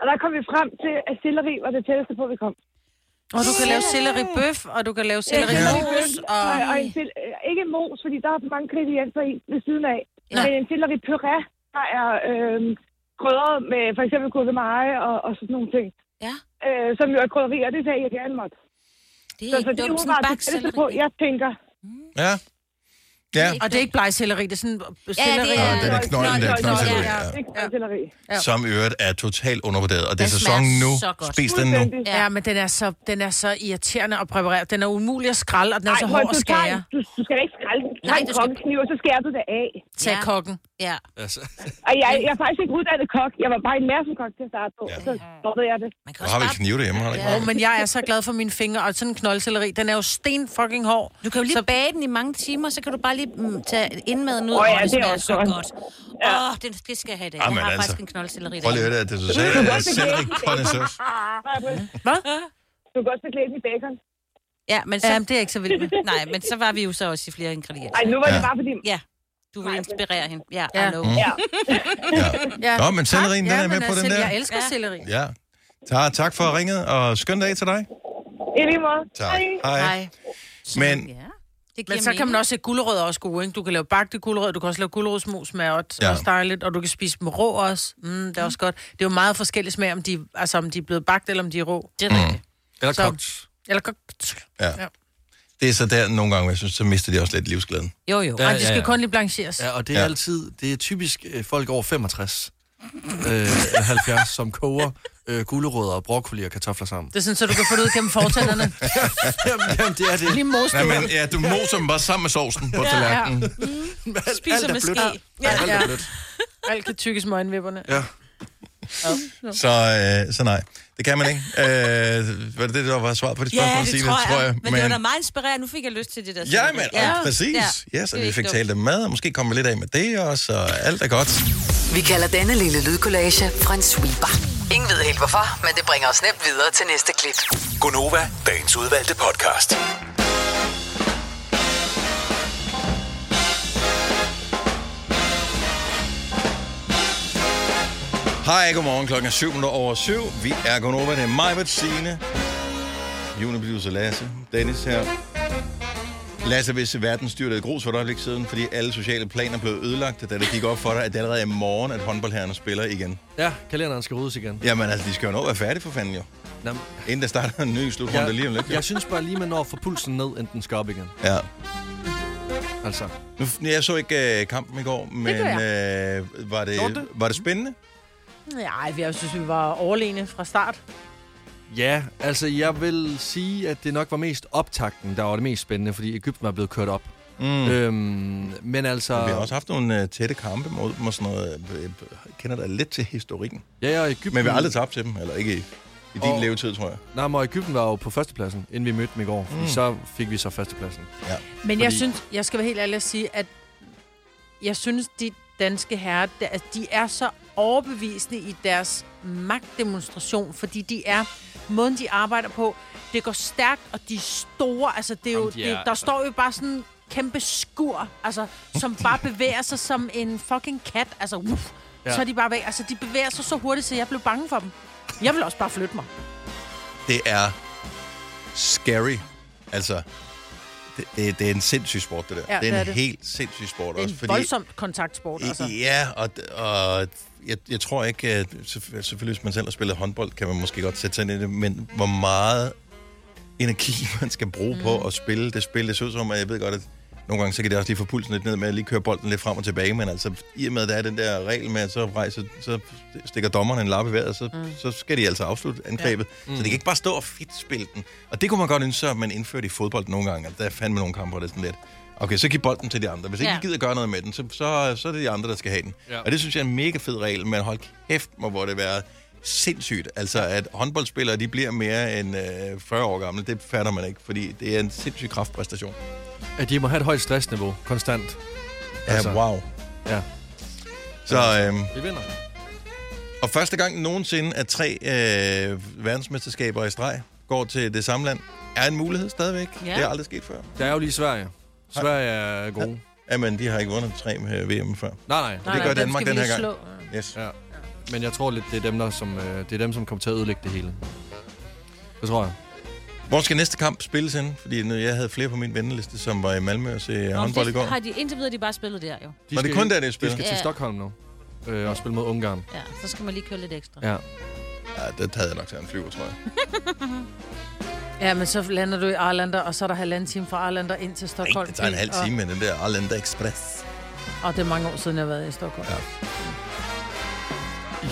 [SPEAKER 11] Og der kom vi frem til, at selleri var det tætteste på, vi kom.
[SPEAKER 2] Og du kan lave selleribøf, og du kan lave selleribøs,
[SPEAKER 11] Selleribøs,
[SPEAKER 2] og...
[SPEAKER 11] Og, og en til, øh, ikke mos, fordi der er for mange ingredienser i ved siden af.
[SPEAKER 2] Nej.
[SPEAKER 11] Nej. Men en selleri-puré, der er øh, krydder med for eksempel gurkemeje og, og sådan nogle ting.
[SPEAKER 4] Ja,
[SPEAKER 11] Øh, som jo er krydderier, det sagde jeg gerne måtte.
[SPEAKER 4] det
[SPEAKER 11] Så,
[SPEAKER 4] er
[SPEAKER 11] så
[SPEAKER 4] ikke
[SPEAKER 11] det er
[SPEAKER 4] dumt. Sådan
[SPEAKER 11] umiddelbart
[SPEAKER 4] en
[SPEAKER 11] det tætteste på,
[SPEAKER 4] bakselleri.
[SPEAKER 11] jeg tænker.
[SPEAKER 1] Ja. Ja,
[SPEAKER 2] Og det er ikke blegselleri, det er sådan selleri.
[SPEAKER 4] det er-
[SPEAKER 1] den er knolden, den er knoldselleri, ja.
[SPEAKER 11] Det er selleri.
[SPEAKER 1] som i øvrigt er totalt undervurderet. Og det er
[SPEAKER 4] Den
[SPEAKER 1] sæson
[SPEAKER 4] smager
[SPEAKER 1] nu.
[SPEAKER 4] så godt.
[SPEAKER 1] Spis den nu.
[SPEAKER 2] Ja, ja men den er, så, den er så irriterende at præparere. Den er umulig at skralde, og den er Ej, så
[SPEAKER 11] hvor
[SPEAKER 2] hård at
[SPEAKER 11] du, tager,
[SPEAKER 2] skære.
[SPEAKER 11] du, du skal da ikke skrælle den. Du
[SPEAKER 4] Nej,
[SPEAKER 11] tager en
[SPEAKER 4] du skal-
[SPEAKER 11] kokkekniv, og så skærer du det af.
[SPEAKER 2] Tag
[SPEAKER 4] Ja.
[SPEAKER 2] kokken.
[SPEAKER 4] Ja.
[SPEAKER 3] altså,
[SPEAKER 11] Og jeg, jeg er faktisk ikke uddannet kok. Jeg var bare en mærkekok til at starte på, ja. så stoppede jeg det.
[SPEAKER 4] Man kan
[SPEAKER 1] Du
[SPEAKER 4] også
[SPEAKER 1] har vel
[SPEAKER 4] bare...
[SPEAKER 1] knive derhjemme, har du ikke?
[SPEAKER 2] Åh, oh, men jeg er så glad for mine fingre, og sådan en knoldselleri, den er jo sten fucking hård.
[SPEAKER 4] Du kan jo lige så... bage den i mange timer, så kan du bare lige mm, tage indmaden ud,
[SPEAKER 11] Åh, ja,
[SPEAKER 4] og det
[SPEAKER 11] det er
[SPEAKER 4] smager
[SPEAKER 11] også
[SPEAKER 4] så
[SPEAKER 11] godt.
[SPEAKER 4] godt. Åh, oh, det, det skal jeg have i dag.
[SPEAKER 1] Jamen
[SPEAKER 4] jeg har
[SPEAKER 1] altså.
[SPEAKER 4] faktisk en knoldselleri i
[SPEAKER 1] Prøv lige
[SPEAKER 4] dag.
[SPEAKER 1] at høre det, at det er totalt er selleri connoisseurs.
[SPEAKER 2] Hvad?
[SPEAKER 11] Du kan også beklæde den i bacon.
[SPEAKER 4] Ja, men så...
[SPEAKER 2] Ja, det er jeg ikke så vild med.
[SPEAKER 4] Nej, men så var vi jo så også i flere ingredienser.
[SPEAKER 11] Ej, nu var det
[SPEAKER 1] Ja.
[SPEAKER 11] bare fordi...
[SPEAKER 4] Ja, du vil
[SPEAKER 11] Nej,
[SPEAKER 4] inspirere hende. Ja,
[SPEAKER 2] Ja.
[SPEAKER 4] I know.
[SPEAKER 1] Mm.
[SPEAKER 11] Ja.
[SPEAKER 2] Ja.
[SPEAKER 1] Nå, men sellerien, den
[SPEAKER 2] ja,
[SPEAKER 1] er
[SPEAKER 2] men
[SPEAKER 1] med på den
[SPEAKER 2] altså,
[SPEAKER 1] der.
[SPEAKER 2] Jeg elsker
[SPEAKER 4] Ja.
[SPEAKER 2] selleri.
[SPEAKER 1] Ja. Tara, tak for ringet, og skøn dag til dig.
[SPEAKER 11] I lige måde.
[SPEAKER 1] Tak. Hej. Hej. Men
[SPEAKER 2] Det
[SPEAKER 4] giver
[SPEAKER 2] Men så kan man
[SPEAKER 4] mening.
[SPEAKER 2] også sætte gulerødder også gode, ikke? Du kan lave bagte gulerødder, du kan også lave gulerodsmos med ot,
[SPEAKER 1] Ja.
[SPEAKER 2] ja. også dejligt, og du kan spise dem rå også. Mm, det er også godt. Det er jo meget forskelligt smag, om de, altså, om de er blevet bagt, eller om de er rå. Det er rigtigt.
[SPEAKER 3] Eller
[SPEAKER 2] Så-
[SPEAKER 3] kogt.
[SPEAKER 1] Mm.
[SPEAKER 2] Eller kogt.
[SPEAKER 1] Ja. det er så der nogle gange, hvor jeg synes, så mister de også lidt livsglæden.
[SPEAKER 2] Jo, jo.
[SPEAKER 3] Ja,
[SPEAKER 2] Ja, og de
[SPEAKER 3] ja,
[SPEAKER 2] skal ja,
[SPEAKER 3] ja.
[SPEAKER 2] kun lige blancheres.
[SPEAKER 3] Ja,
[SPEAKER 2] Ja,
[SPEAKER 3] og det er
[SPEAKER 1] Ja.
[SPEAKER 3] ja. altid, det er typisk øh, folk over 65, øh, eller 70, som koger øh, gulerødder og broccoli og kartofler sammen.
[SPEAKER 2] Det er sådan, så du kan få det ud gennem fortænderne.
[SPEAKER 3] Jamen, jamen, det er det.
[SPEAKER 2] Lige mos
[SPEAKER 1] Nej, men ja, du moser dem bare sammen med sovsen på tallerkenen.
[SPEAKER 4] Spiser med ske.
[SPEAKER 2] Ja,
[SPEAKER 3] Alt
[SPEAKER 2] ja.
[SPEAKER 3] er blødt.
[SPEAKER 2] Alt kan tykkes med øjenvipperne.
[SPEAKER 3] Ja.
[SPEAKER 1] Så, øh, så nej, det kan man ikke. Øh, var det det, der var svaret på dit spørgsmål?
[SPEAKER 4] Ja, det
[SPEAKER 1] Signe?
[SPEAKER 4] tror jeg. Men, det var da meget inspirerende. Nu fik jeg lyst til det der.
[SPEAKER 1] Ja, men ja.
[SPEAKER 4] Ja.
[SPEAKER 1] præcis. Ja. Yes,
[SPEAKER 4] Det
[SPEAKER 1] og
[SPEAKER 4] er
[SPEAKER 1] vi
[SPEAKER 4] ikke
[SPEAKER 1] fik
[SPEAKER 4] dumt.
[SPEAKER 1] talt dem med, og måske kommer vi lidt af med det også, og alt er godt.
[SPEAKER 6] Vi kalder denne lille lydkollage en sweeper. Ingen ved helt hvorfor, men det bringer os nemt videre til næste klip.
[SPEAKER 12] Gunova, dagens udvalgte podcast.
[SPEAKER 1] Hej, godmorgen. Klokken er syv minutter over syv. Vi er gået over. Det er mig, Britt, Signe, Junior Lasse, Dennis her. Lasse, hvis verden styrtede i grus for et øjeblik siden, fordi alle sociale planer blev ødelagt, da det gik op for dig, at det allerede er i morgen, at håndboldherrerne spiller igen.
[SPEAKER 3] ja, kalenderen skal ryddes igen.
[SPEAKER 1] Jamen altså, de skal jo nå at være færdige for fanden jo.
[SPEAKER 3] Jamen,
[SPEAKER 1] Inden der starter en ny slutrunde lige om lidt. jo.
[SPEAKER 3] jeg synes bare lige, man når at få pulsen ned, inden den skal op igen.
[SPEAKER 1] Ja.
[SPEAKER 3] Altså,
[SPEAKER 1] Nu, jeg så ikke øh, kampen i går, men øh, var, det,
[SPEAKER 3] Gjorde det?
[SPEAKER 1] var det spændende?
[SPEAKER 2] Nej, vi jeg synes, vi var overlegne fra start.
[SPEAKER 3] ja, altså jeg vil sige, at det nok var mest optakten, der var det mest spændende, fordi Ægypten var blevet kørt op.
[SPEAKER 1] Mm.
[SPEAKER 3] Øhm, men altså...
[SPEAKER 1] Vi har også haft nogle øh, tætte kampe mod, mod sådan noget. øh, øh, Jeg kender da lidt til historikken.
[SPEAKER 3] Ja, ja, Ægypten...
[SPEAKER 1] Men vi har aldrig tabt til dem, eller ikke i, i din
[SPEAKER 3] Og-
[SPEAKER 1] levetid, tror jeg.
[SPEAKER 3] Nej, men Ægypten var jo på førstepladsen, inden vi mødte dem i går. Mm. Så fik vi så førstepladsen.
[SPEAKER 2] Men jeg
[SPEAKER 3] Fordi-
[SPEAKER 2] synes, jeg skal være helt ærlig at sige, at jeg synes, de danske herrer, der- altså, de er så overbevisende i deres magtdemonstration, fordi de er, måden de arbejder på, det går stærkt, og de er store, altså det er jo,
[SPEAKER 3] Jamen, de er-
[SPEAKER 2] det, der
[SPEAKER 3] altså-
[SPEAKER 2] står jo bare sådan en kæmpe skur, altså, som bare bevæger sig som en fucking kat, altså, uff,
[SPEAKER 3] Ja.
[SPEAKER 2] ja. så er de bare væk, altså de bevæger sig så hurtigt, så jeg blev bange for dem. Jeg vil også bare flytte mig.
[SPEAKER 1] Det er scary. Altså, det, det, det er en sindssyg sport, det der.
[SPEAKER 2] Ja,
[SPEAKER 1] det er en
[SPEAKER 2] det er det.
[SPEAKER 1] helt sindssyg sport.
[SPEAKER 2] Det er en
[SPEAKER 1] også, fordi,
[SPEAKER 2] voldsomt kontaktsport, altså.
[SPEAKER 1] Ja, og, og jeg, jeg tror ikke, at selvfø- selvfølgelig hvis man selv har spillet håndbold, kan man måske godt sætte sig ind i det, men hvor meget energi man skal bruge mm. på at spille det spil. Det ser ud som, at jeg ved godt, at nogle gange så kan det også lige få pulsen lidt ned med at lige køre bolden lidt frem og tilbage, men altså i og med, at der er den der regel med, at så, rejser, så stikker dommeren en lappe i vejret, så, mm. så skal de altså afslutte angrebet. Ja. Mm. Så de kan ikke bare stå og fedtspille den. Og det kunne man godt ønske sig, at man indførte i fodbold nogle gange. Altså, der er fandme nogle kampe, hvor det er sådan lidt. Okay, så giv bolden til de andre. Hvis ikke ja.
[SPEAKER 4] Ja.
[SPEAKER 1] de gider gøre noget med den, så, så, så er det de andre, der skal have den. Ja.
[SPEAKER 3] Ja.
[SPEAKER 1] Og det synes jeg er en mega fed regel, men hold kæft, mig, hvor det være sindssygt. Altså, at håndboldspillere, de bliver mere end øh, 40 år gamle, det fatter man ikke, fordi det er en sindssyg kraftpræstation.
[SPEAKER 3] At de må have et højt stressniveau, konstant.
[SPEAKER 1] Altså, ja, wow.
[SPEAKER 3] Ja.
[SPEAKER 1] Så, øh,
[SPEAKER 3] Vi vinder.
[SPEAKER 1] og første gang nogensinde, at tre øh, verdensmesterskaber i streg går til det samme land, er en mulighed stadigvæk. Ja. Det er aldrig sket før.
[SPEAKER 3] Der er jo lige Sverige. Sverige er gode.
[SPEAKER 1] Jamen, de har ikke vundet tre øh, VM før.
[SPEAKER 3] Nej, nej.
[SPEAKER 1] Det gør
[SPEAKER 2] hvem
[SPEAKER 1] Danmark
[SPEAKER 2] skal vi
[SPEAKER 1] den her
[SPEAKER 2] lige
[SPEAKER 1] gang.
[SPEAKER 2] slå?
[SPEAKER 1] Yes.
[SPEAKER 3] Ja. Men jeg tror lidt, det er dem, der, som, øh, det er dem, som kommer til at ødelægge det hele. Det tror jeg.
[SPEAKER 1] Hvor skal næste kamp spilles henne? Fordi nu, jeg havde flere på min venteliste, som var i Malmø og se håndbold i går.
[SPEAKER 4] det har de indtil videre, de bare spillet der jo.
[SPEAKER 3] De
[SPEAKER 1] Var det
[SPEAKER 3] skal-
[SPEAKER 1] kun der, det er
[SPEAKER 3] De
[SPEAKER 1] spillet?
[SPEAKER 3] skal til
[SPEAKER 4] Ja.
[SPEAKER 3] Stockholm nu. Øh, og spille mod Ungarn.
[SPEAKER 4] Ja, så skal man lige køre lidt ekstra.
[SPEAKER 3] Ja.
[SPEAKER 1] Ja, det havde jeg nok til en flyver, tror jeg.
[SPEAKER 2] Ja, men så lander du i Arlander, og så er der halvanden time fra Arlander ind til Stockholm.
[SPEAKER 1] Ej, det tager en halv time med den der Arlanda Express.
[SPEAKER 2] Og, og det er mange år siden, jeg har været i Stockholm. Ja.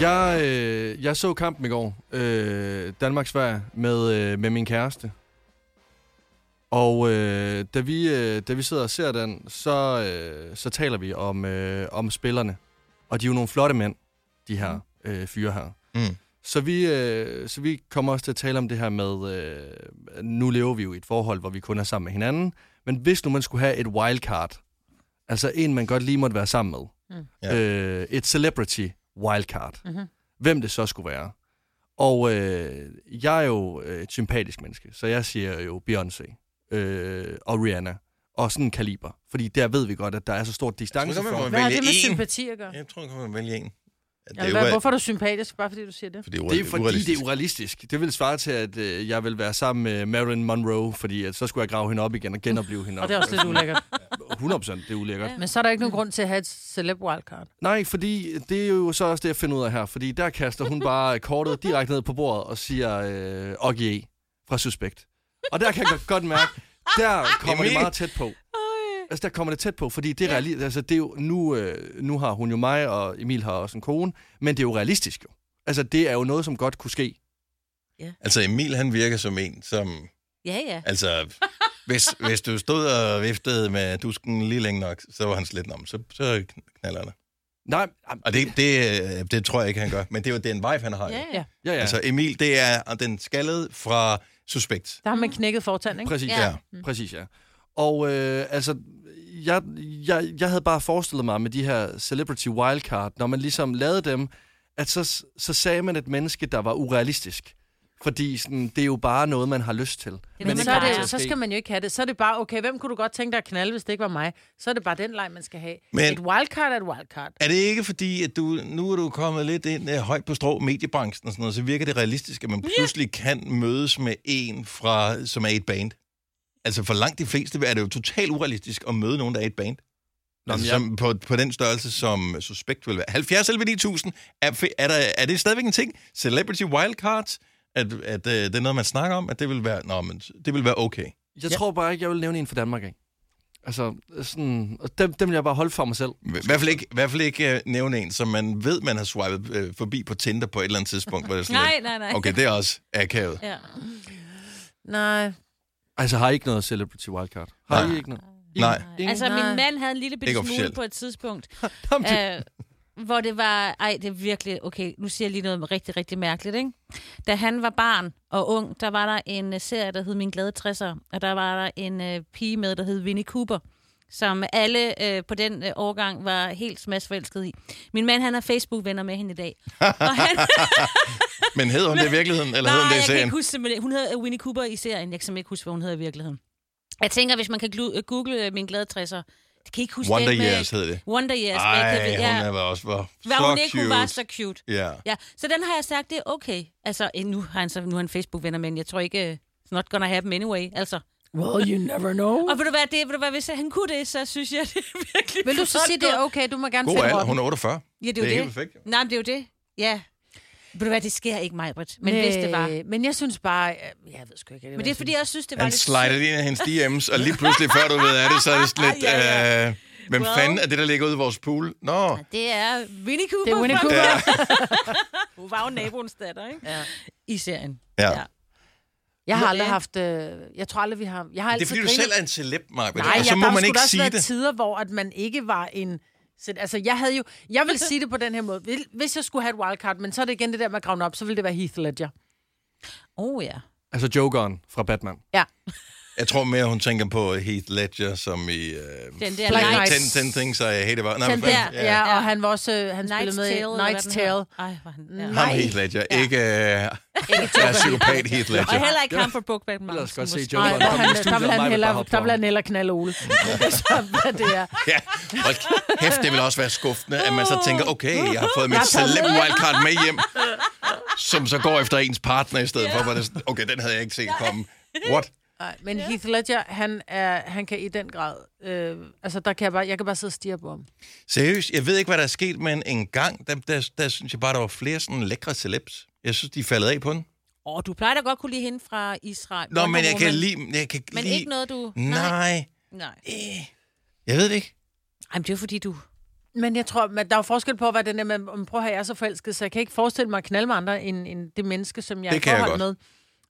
[SPEAKER 3] Jeg, øh, jeg så kampen i går. Øh, Danmark-Sverige med, øh, med min kæreste. Og øh, da, vi, øh, da vi sidder og ser den, så, øh, så taler vi om, øh, om spillerne. Og de er jo nogle flotte mænd, de her øh, fyre her.
[SPEAKER 1] Mm.
[SPEAKER 3] Så vi, øh, så vi kommer også til at tale om det her med, øh, nu lever vi jo i et forhold, hvor vi kun er sammen med hinanden, men hvis nu man skulle have et wildcard, altså en, man godt lige måtte være sammen med, mm.
[SPEAKER 1] Ja. Mhm.
[SPEAKER 3] øh, et celebrity wildcard, mm-hmm. hvem det så skulle være. Og øh, jeg er jo øh, et sympatisk menneske, så jeg siger jo Beyoncé øh, og Rihanna, og sådan en kaliber, fordi der ved vi godt, at der er så stor distance
[SPEAKER 1] godt, man må
[SPEAKER 3] fra.
[SPEAKER 1] vælge
[SPEAKER 2] Hvad har det med
[SPEAKER 1] én.
[SPEAKER 2] sympati at gøre?
[SPEAKER 1] Jeg tror, jeg kan vælge en. Det
[SPEAKER 2] Ja,
[SPEAKER 1] er jo,
[SPEAKER 2] hvad,
[SPEAKER 1] at-
[SPEAKER 2] hvorfor er du sympatisk? Bare fordi du siger det?
[SPEAKER 1] Fordi det er
[SPEAKER 3] Det er fordi, det
[SPEAKER 1] urealistisk.
[SPEAKER 3] er urealistisk. Det vil svare til, at øh, jeg vil være sammen med Marilyn Monroe, fordi at så skulle jeg grave hende op igen og genopleve hende.
[SPEAKER 2] Og det er også lidt ulækkert.
[SPEAKER 3] 100 procent, det er ulækkert.
[SPEAKER 2] Men så er der ikke nogen grund til at have et celeb wildcard.
[SPEAKER 3] Nej, fordi det er jo så også det, jeg finder ud af her. Fordi der kaster hun bare kortet direkte ned på bordet og siger øh, Oggie fra Suspekt. Og der kan jeg godt mærke, der kommer det
[SPEAKER 1] Emil!
[SPEAKER 3] meget tæt på. Altså, der kommer det tæt på, fordi det er, reali- altså, det er jo, nu, øh, nu har hun jo mig, og Emil har også en kone, men det er jo realistisk jo. Altså, det er jo noget, som godt kunne ske.
[SPEAKER 1] Altså, Emil, han virker som en, som...
[SPEAKER 4] Ja, ja.
[SPEAKER 1] Altså, hvis, hvis du stod og viftede med dusken lige længe nok, så var han slet om. Så, så knaller han.
[SPEAKER 3] Nej.
[SPEAKER 1] Og det, det, øh, det tror jeg ikke, han gør. Men det er jo den vibe, han har. jo.
[SPEAKER 2] ja.
[SPEAKER 3] Ja, ja.
[SPEAKER 1] Altså, Emil, det er den skaldede fra Suspekt.
[SPEAKER 2] Der har man knækket fortand, ikke? Mm.
[SPEAKER 3] Præcis, ja. ja. Præcis, ja. Og øh, altså, jeg, jeg, jeg havde bare forestillet mig med de her celebrity wildcard, når man ligesom lavede dem, at så, så sagde man et menneske, der var urealistisk. Fordi sådan, det er jo bare noget, man har lyst til.
[SPEAKER 2] Men
[SPEAKER 3] ikke
[SPEAKER 2] så, er
[SPEAKER 3] kommer til at
[SPEAKER 2] det, så
[SPEAKER 3] ske.
[SPEAKER 2] skal man jo ikke have det. Så er det bare, okay, hvem kunne du godt tænke dig at knalde, hvis det ikke var mig? Så er det bare den leg, man skal have.
[SPEAKER 1] Men-
[SPEAKER 2] Men... Et wildcard er et wildcard.
[SPEAKER 1] Er det ikke fordi, at du, nu er du kommet lidt ind uh, højt på strå mediebranchen og sådan noget, så virker det realistisk, at man pludselig kan mødes med en, fra, som er i et band? Altså for langt de fleste er det jo totalt urealistisk at møde nogen, der er i et band. Nå, altså,
[SPEAKER 3] jeg-
[SPEAKER 1] som, på, på den størrelse, som øh, suspekt vil være. 70 11 9000, er, fe- er, der, er det stadigvæk en ting? Celebrity wildcards? At, at øh, det er noget, man snakker om, at det vil være, nå, men, det vil være okay.
[SPEAKER 3] Jeg ja. tror bare ikke, jeg vil nævne en fra Danmark, ikke? Altså, sådan, og dem, dem vil jeg bare holde for mig selv.
[SPEAKER 1] I hvert fald ikke, i hvert fald ikke øh, nævne en, som man ved, man har swipet øh, forbi på Tinder på et eller andet tidspunkt. Hvor det er sådan
[SPEAKER 2] Nej,
[SPEAKER 1] lidt,
[SPEAKER 2] nej, nej.
[SPEAKER 1] Okay, det er også akavet.
[SPEAKER 2] Ja. Nej.
[SPEAKER 3] Altså, har I ikke noget celebrity wildcard? Har
[SPEAKER 1] Nej.
[SPEAKER 3] I ikke noget?
[SPEAKER 1] Nej.
[SPEAKER 4] Altså, min mand havde en lille bitte
[SPEAKER 1] Ikke
[SPEAKER 4] smule
[SPEAKER 1] officielt.
[SPEAKER 4] på et tidspunkt,
[SPEAKER 3] Jamen,
[SPEAKER 4] øh, hvor det var... Ej, det er virkelig... Okay, nu siger jeg lige noget rigtig, rigtig mærkeligt, ikke? Da han var barn og ung, der var der en øh, serie, der hed Min Glade 60'er, og der var der en øh, pige med, der hed Winnie Cooper, som alle øh, på den øh, årgang var helt smadsforelsket i. Min mand, han er Facebook-venner med hende i dag. Og han,
[SPEAKER 1] Men hed hun det i virkeligheden, eller hed hun det i
[SPEAKER 4] Nej, jeg kan
[SPEAKER 1] serien?
[SPEAKER 4] ikke huske simpelthen. Hun hedder Winnie Cooper i serien. Jeg kan simpelthen ikke huske, hvad hun hedder i virkeligheden. Jeg tænker, hvis man kan glu- øh, google øh, min glade 60'er. Det kan I ikke huske
[SPEAKER 1] Wonder
[SPEAKER 4] den med...
[SPEAKER 1] Years hed det.
[SPEAKER 4] Wonder Years. med
[SPEAKER 1] Ej,
[SPEAKER 4] Kevin-
[SPEAKER 1] hun er var også var
[SPEAKER 4] Hvad
[SPEAKER 1] så
[SPEAKER 4] hun ikke,
[SPEAKER 1] cute.
[SPEAKER 4] hun var så cute.
[SPEAKER 1] Ja.
[SPEAKER 4] ja. Så den har jeg sagt, det er okay. Altså, eh, nu har han, så, nu er han Facebook-venner, men jeg tror ikke, øh, it's not gonna happen anyway. Altså.
[SPEAKER 2] Well, you never know.
[SPEAKER 4] Og vil du være det, vil du være, hvis han kunne det, så synes jeg, det er virkelig
[SPEAKER 2] Vil du så
[SPEAKER 4] flot
[SPEAKER 2] sige, det er
[SPEAKER 4] gået.
[SPEAKER 2] okay, du må gerne
[SPEAKER 1] God
[SPEAKER 2] finde
[SPEAKER 1] alder,
[SPEAKER 2] rocken?
[SPEAKER 1] hun er 48.
[SPEAKER 4] Ja, det er jo
[SPEAKER 1] det
[SPEAKER 4] det.
[SPEAKER 1] er helt perfekt.
[SPEAKER 4] Nej, men det er jo det. Ja. Vil du være, det sker ikke mig, Britt. Men hvis det var.
[SPEAKER 2] Øh, Men jeg synes bare, øh, jeg ved sgu ikke.
[SPEAKER 4] Men det er, fordi jeg synes, det var
[SPEAKER 1] Han
[SPEAKER 4] lidt
[SPEAKER 1] slider
[SPEAKER 4] synd.
[SPEAKER 1] lige ind af hendes DM's, og lige pludselig, før du ved af det, så er det sådan lidt...
[SPEAKER 4] Ja, ja.
[SPEAKER 1] Øh, hvem
[SPEAKER 4] Well.
[SPEAKER 1] fanden er det, der ligger ude i vores pool? Nå,
[SPEAKER 4] Det er Winnie Cooper.
[SPEAKER 2] Det er Winnie
[SPEAKER 4] fra-
[SPEAKER 2] Cooper. Ja.
[SPEAKER 4] Hun var jo naboens datter, ikke? Ja. I serien.
[SPEAKER 1] Ja.
[SPEAKER 2] Jeg har
[SPEAKER 4] Nå,
[SPEAKER 2] aldrig
[SPEAKER 4] ja.
[SPEAKER 2] haft... Øh, jeg tror aldrig, vi har... Jeg har
[SPEAKER 1] det er
[SPEAKER 2] altid
[SPEAKER 1] fordi, du
[SPEAKER 4] Altså,
[SPEAKER 2] grinet-
[SPEAKER 1] selv er en celeb, Maja.
[SPEAKER 2] Nej,
[SPEAKER 1] Og så
[SPEAKER 2] jeg,
[SPEAKER 1] må
[SPEAKER 2] der
[SPEAKER 1] man
[SPEAKER 2] skulle
[SPEAKER 1] ikke
[SPEAKER 2] også
[SPEAKER 1] sige
[SPEAKER 2] været
[SPEAKER 1] det.
[SPEAKER 2] tider, hvor at man ikke var en... Så, altså, jeg havde jo... Jeg vil sige det på den her måde. Vil- Hvis jeg skulle have et wildcard, men så er det igen det der med at grave den op, så ville det være Heath Ledger.
[SPEAKER 4] Oh ja.
[SPEAKER 3] Altså, Jokeren fra Batman.
[SPEAKER 2] Ja.
[SPEAKER 1] Jeg tror mere, hun tænker på Heath Ledger, som i... Øh,
[SPEAKER 4] Den der
[SPEAKER 2] Black
[SPEAKER 4] Knight.
[SPEAKER 1] 10, 10 things I hate about... Nej,
[SPEAKER 2] Den
[SPEAKER 1] hvad fanden?
[SPEAKER 2] der, ja. ja, og han var også... øh, Han spillede
[SPEAKER 4] Night's
[SPEAKER 2] med
[SPEAKER 4] Tale.
[SPEAKER 2] i Night's Tale.
[SPEAKER 4] Ej, hvor
[SPEAKER 2] Mm.
[SPEAKER 4] han... Ja.
[SPEAKER 1] Ham Heath Ledger, ikke... Øh,
[SPEAKER 4] Ikke
[SPEAKER 1] jeg er psykopat Heath Ledger.
[SPEAKER 4] Og heller ikke ham fra Brokeback Mountain.
[SPEAKER 3] også godt se
[SPEAKER 4] måske.
[SPEAKER 3] Joker.
[SPEAKER 2] Nej,
[SPEAKER 3] Hvor
[SPEAKER 2] der,
[SPEAKER 3] var
[SPEAKER 2] han,
[SPEAKER 3] det
[SPEAKER 2] der vil
[SPEAKER 3] studiet,
[SPEAKER 2] han
[SPEAKER 3] mig,
[SPEAKER 2] hellere,
[SPEAKER 3] der hoppede
[SPEAKER 2] der vil
[SPEAKER 3] op.
[SPEAKER 2] han hellere knalde Ole. Det er så, hvad det er.
[SPEAKER 1] Ja, og kæft, det vil også være skuffende, at man så tænker, okay, jeg har fået
[SPEAKER 2] Jeg
[SPEAKER 1] mit
[SPEAKER 2] har taget
[SPEAKER 1] celeb
[SPEAKER 2] med.
[SPEAKER 1] wildcard med hjem, som så går efter ens partner i stedet for, hvor det er sådan, okay, den havde jeg ikke set komme. What?
[SPEAKER 2] Nej, men Heath Ledger, han, er, han kan i den grad... Øh, altså, der kan jeg, bare, jeg kan bare sidde og stirre på ham.
[SPEAKER 1] Seriøst, jeg ved ikke, hvad der er sket, men en gang, der, der, der synes jeg bare, der var flere sådan lækre celebs. Jeg synes, de er faldet af på den.
[SPEAKER 4] Åh, du plejer da godt kunne lide hende fra Israel.
[SPEAKER 1] Nå,
[SPEAKER 4] Wonder
[SPEAKER 1] men jeg kan
[SPEAKER 4] Woman.
[SPEAKER 1] lide... Jeg kan
[SPEAKER 4] Men
[SPEAKER 1] lide...
[SPEAKER 4] ikke noget, du...
[SPEAKER 1] Nej.
[SPEAKER 4] Nej.
[SPEAKER 1] Jeg ved det ikke.
[SPEAKER 4] Ej, men det er jo fordi, du...
[SPEAKER 2] Men jeg tror, men der er jo forskel på, hvad den er med, om prøv at have, jeg er så forelsket, så jeg kan ikke forestille mig at knalde med andre, end, end det menneske, som jeg
[SPEAKER 1] Det
[SPEAKER 2] er i
[SPEAKER 1] kan jeg
[SPEAKER 2] forhold med.
[SPEAKER 1] godt.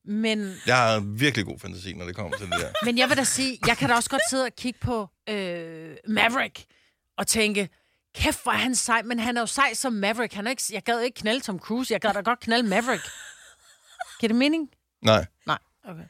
[SPEAKER 2] Men,
[SPEAKER 1] Jeg har virkelig god fantasi, når det kommer til det der.
[SPEAKER 2] men jeg vil da sige, jeg kan da også godt sidde og kigge på øh, Maverick og tænke, kæft, hvor er han sej, men han er jo sej som Maverick. Han er ikke, jeg gad ikke knalde Tom Cruise, jeg gad da godt knalde Maverick. Giver det mening?
[SPEAKER 1] Nej.
[SPEAKER 2] Nej, okay.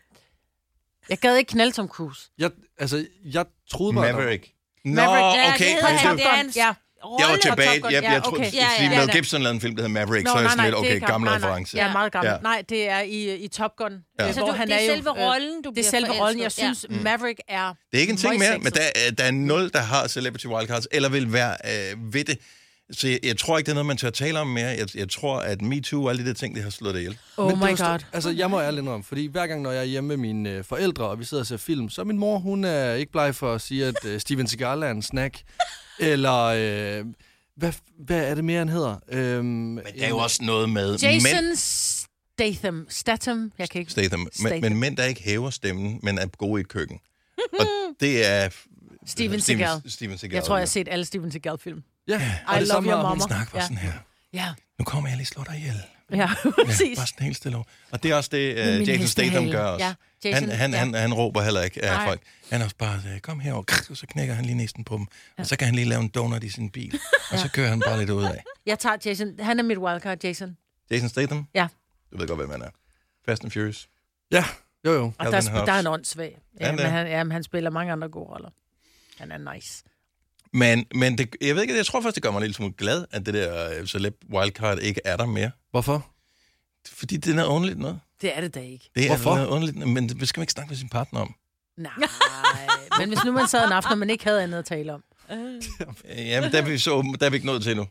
[SPEAKER 2] Jeg gad ikke knalde Tom Cruise.
[SPEAKER 3] Jeg, altså, jeg troede bare... der-
[SPEAKER 1] Maverick. Nå,
[SPEAKER 2] Maverick, ja,
[SPEAKER 1] okay.
[SPEAKER 4] hedder han.
[SPEAKER 1] undskyld.
[SPEAKER 4] Det er hans
[SPEAKER 2] Ja.
[SPEAKER 1] Jeg var
[SPEAKER 4] rolle.
[SPEAKER 1] tilbage. Jeg, jeg, jeg tror, okay.
[SPEAKER 2] Ja, okay.
[SPEAKER 1] ja, ja,
[SPEAKER 4] Ja, ja,
[SPEAKER 1] Mel
[SPEAKER 4] ja.
[SPEAKER 1] Gibson lavede en film, der hedder Maverick, Nå, så er jeg sådan lidt,
[SPEAKER 2] det er
[SPEAKER 1] okay,
[SPEAKER 2] ikke
[SPEAKER 1] gammel
[SPEAKER 2] ham. Nej, nej.
[SPEAKER 1] reference.
[SPEAKER 2] Ja, meget gammel.
[SPEAKER 1] Ja.
[SPEAKER 2] Ja. Nej, det er i, i Top Gun.
[SPEAKER 1] Ja.
[SPEAKER 2] Ja.
[SPEAKER 1] Så
[SPEAKER 4] du- det er selve
[SPEAKER 2] øh,
[SPEAKER 4] rollen,
[SPEAKER 2] Det
[SPEAKER 4] du
[SPEAKER 2] er
[SPEAKER 4] bliver
[SPEAKER 2] selve
[SPEAKER 4] forelsket.
[SPEAKER 2] rollen, jeg
[SPEAKER 4] Ja. Mm.
[SPEAKER 2] synes, Maverick er...
[SPEAKER 1] Det er ikke en ting mere, men
[SPEAKER 2] møgsexet.
[SPEAKER 1] der, er- der er nul, der har Celebrity Wildcards, eller vil være øh, ved det. Så jeg, jeg tror ikke, det er noget, man tør tale om mere. Jeg, jeg tror, at MeToo og alle de der ting, det har slået det ihjel.
[SPEAKER 2] Oh
[SPEAKER 3] Men
[SPEAKER 2] my
[SPEAKER 3] det var st-
[SPEAKER 2] God.
[SPEAKER 3] Altså, jeg må ærligt indrømme, fordi hver gang, når jeg er hjemme med mine øh, forældre, og vi sidder og ser film, så er min mor, hun er ikke bleg for at sige, at øh, Steven Seagal er en snack. Eller, øh, hvad, hvad er det mere, han hedder? Øhm, Men
[SPEAKER 1] Der er jo også noget med...
[SPEAKER 2] Jason
[SPEAKER 1] Mænd,
[SPEAKER 2] Statham. Statham, jeg kan ikke...
[SPEAKER 1] Statham. Men,
[SPEAKER 2] Statham.
[SPEAKER 1] men mænd, der ikke hæver stemmen, men er gode i et køkken. Og det er...
[SPEAKER 2] Steven Seagal.
[SPEAKER 1] Steven Seagal.
[SPEAKER 2] Jeg tror, jeg
[SPEAKER 1] ja.
[SPEAKER 2] har set alle Steven Seagal-film.
[SPEAKER 3] Ja,
[SPEAKER 1] og
[SPEAKER 2] I
[SPEAKER 1] det
[SPEAKER 2] love
[SPEAKER 1] samme
[SPEAKER 2] your
[SPEAKER 1] er-
[SPEAKER 2] mama.
[SPEAKER 1] Hun snakker bare
[SPEAKER 2] ja.
[SPEAKER 1] sådan her.
[SPEAKER 2] Ja,
[SPEAKER 1] Nu kommer jeg lige og slår dig ihjel.
[SPEAKER 2] ja, præcis.
[SPEAKER 1] Bare sådan helt stille over. Og det er også det,
[SPEAKER 2] Med min
[SPEAKER 1] uh, Jason Statham
[SPEAKER 2] hestehale.
[SPEAKER 1] gør også.
[SPEAKER 2] Ja,
[SPEAKER 1] Jason,
[SPEAKER 2] Jason,
[SPEAKER 1] han, han,
[SPEAKER 2] ja.
[SPEAKER 1] han, han råber heller ikke af
[SPEAKER 2] Nej.
[SPEAKER 1] folk. Han er også bare, øh, kom herover, krr, og så knækker han lige næsten på dem. Og så kan han lige lave en donut i sin bil. Og så kører han bare lidt ud af.
[SPEAKER 2] Jeg tager Jason. Han er mit wildcard, Jason.
[SPEAKER 1] Jason Statham?
[SPEAKER 2] Ja.
[SPEAKER 1] Du ved godt, hvem han er. Fast and Furious.
[SPEAKER 3] Ja, jo jo.
[SPEAKER 2] Og der,
[SPEAKER 1] Calvin
[SPEAKER 2] er- der er en
[SPEAKER 1] Hobbs.
[SPEAKER 2] åndssvag.
[SPEAKER 1] Er
[SPEAKER 2] Ja,
[SPEAKER 1] han
[SPEAKER 2] men
[SPEAKER 1] det?
[SPEAKER 2] han, ja, men han spiller mange andre gode roller. Han er nice.
[SPEAKER 1] Men, men det, jeg ved ikke, jeg tror faktisk, det gør mig en lille smule glad, at det der øh, celeb wildcard ikke er der mere.
[SPEAKER 3] Hvorfor?
[SPEAKER 1] Fordi det er noget underligt noget.
[SPEAKER 2] Det er det da ikke.
[SPEAKER 1] Det er
[SPEAKER 3] Hvorfor?
[SPEAKER 1] noget underligt, noget, men det skal man ikke snakke med sin partner om.
[SPEAKER 2] Nej. men hvis nu man sad en aften, og man ikke havde andet at tale om.
[SPEAKER 1] Øh, Jamen, der er vi, så, der er vi ikke nået til endnu.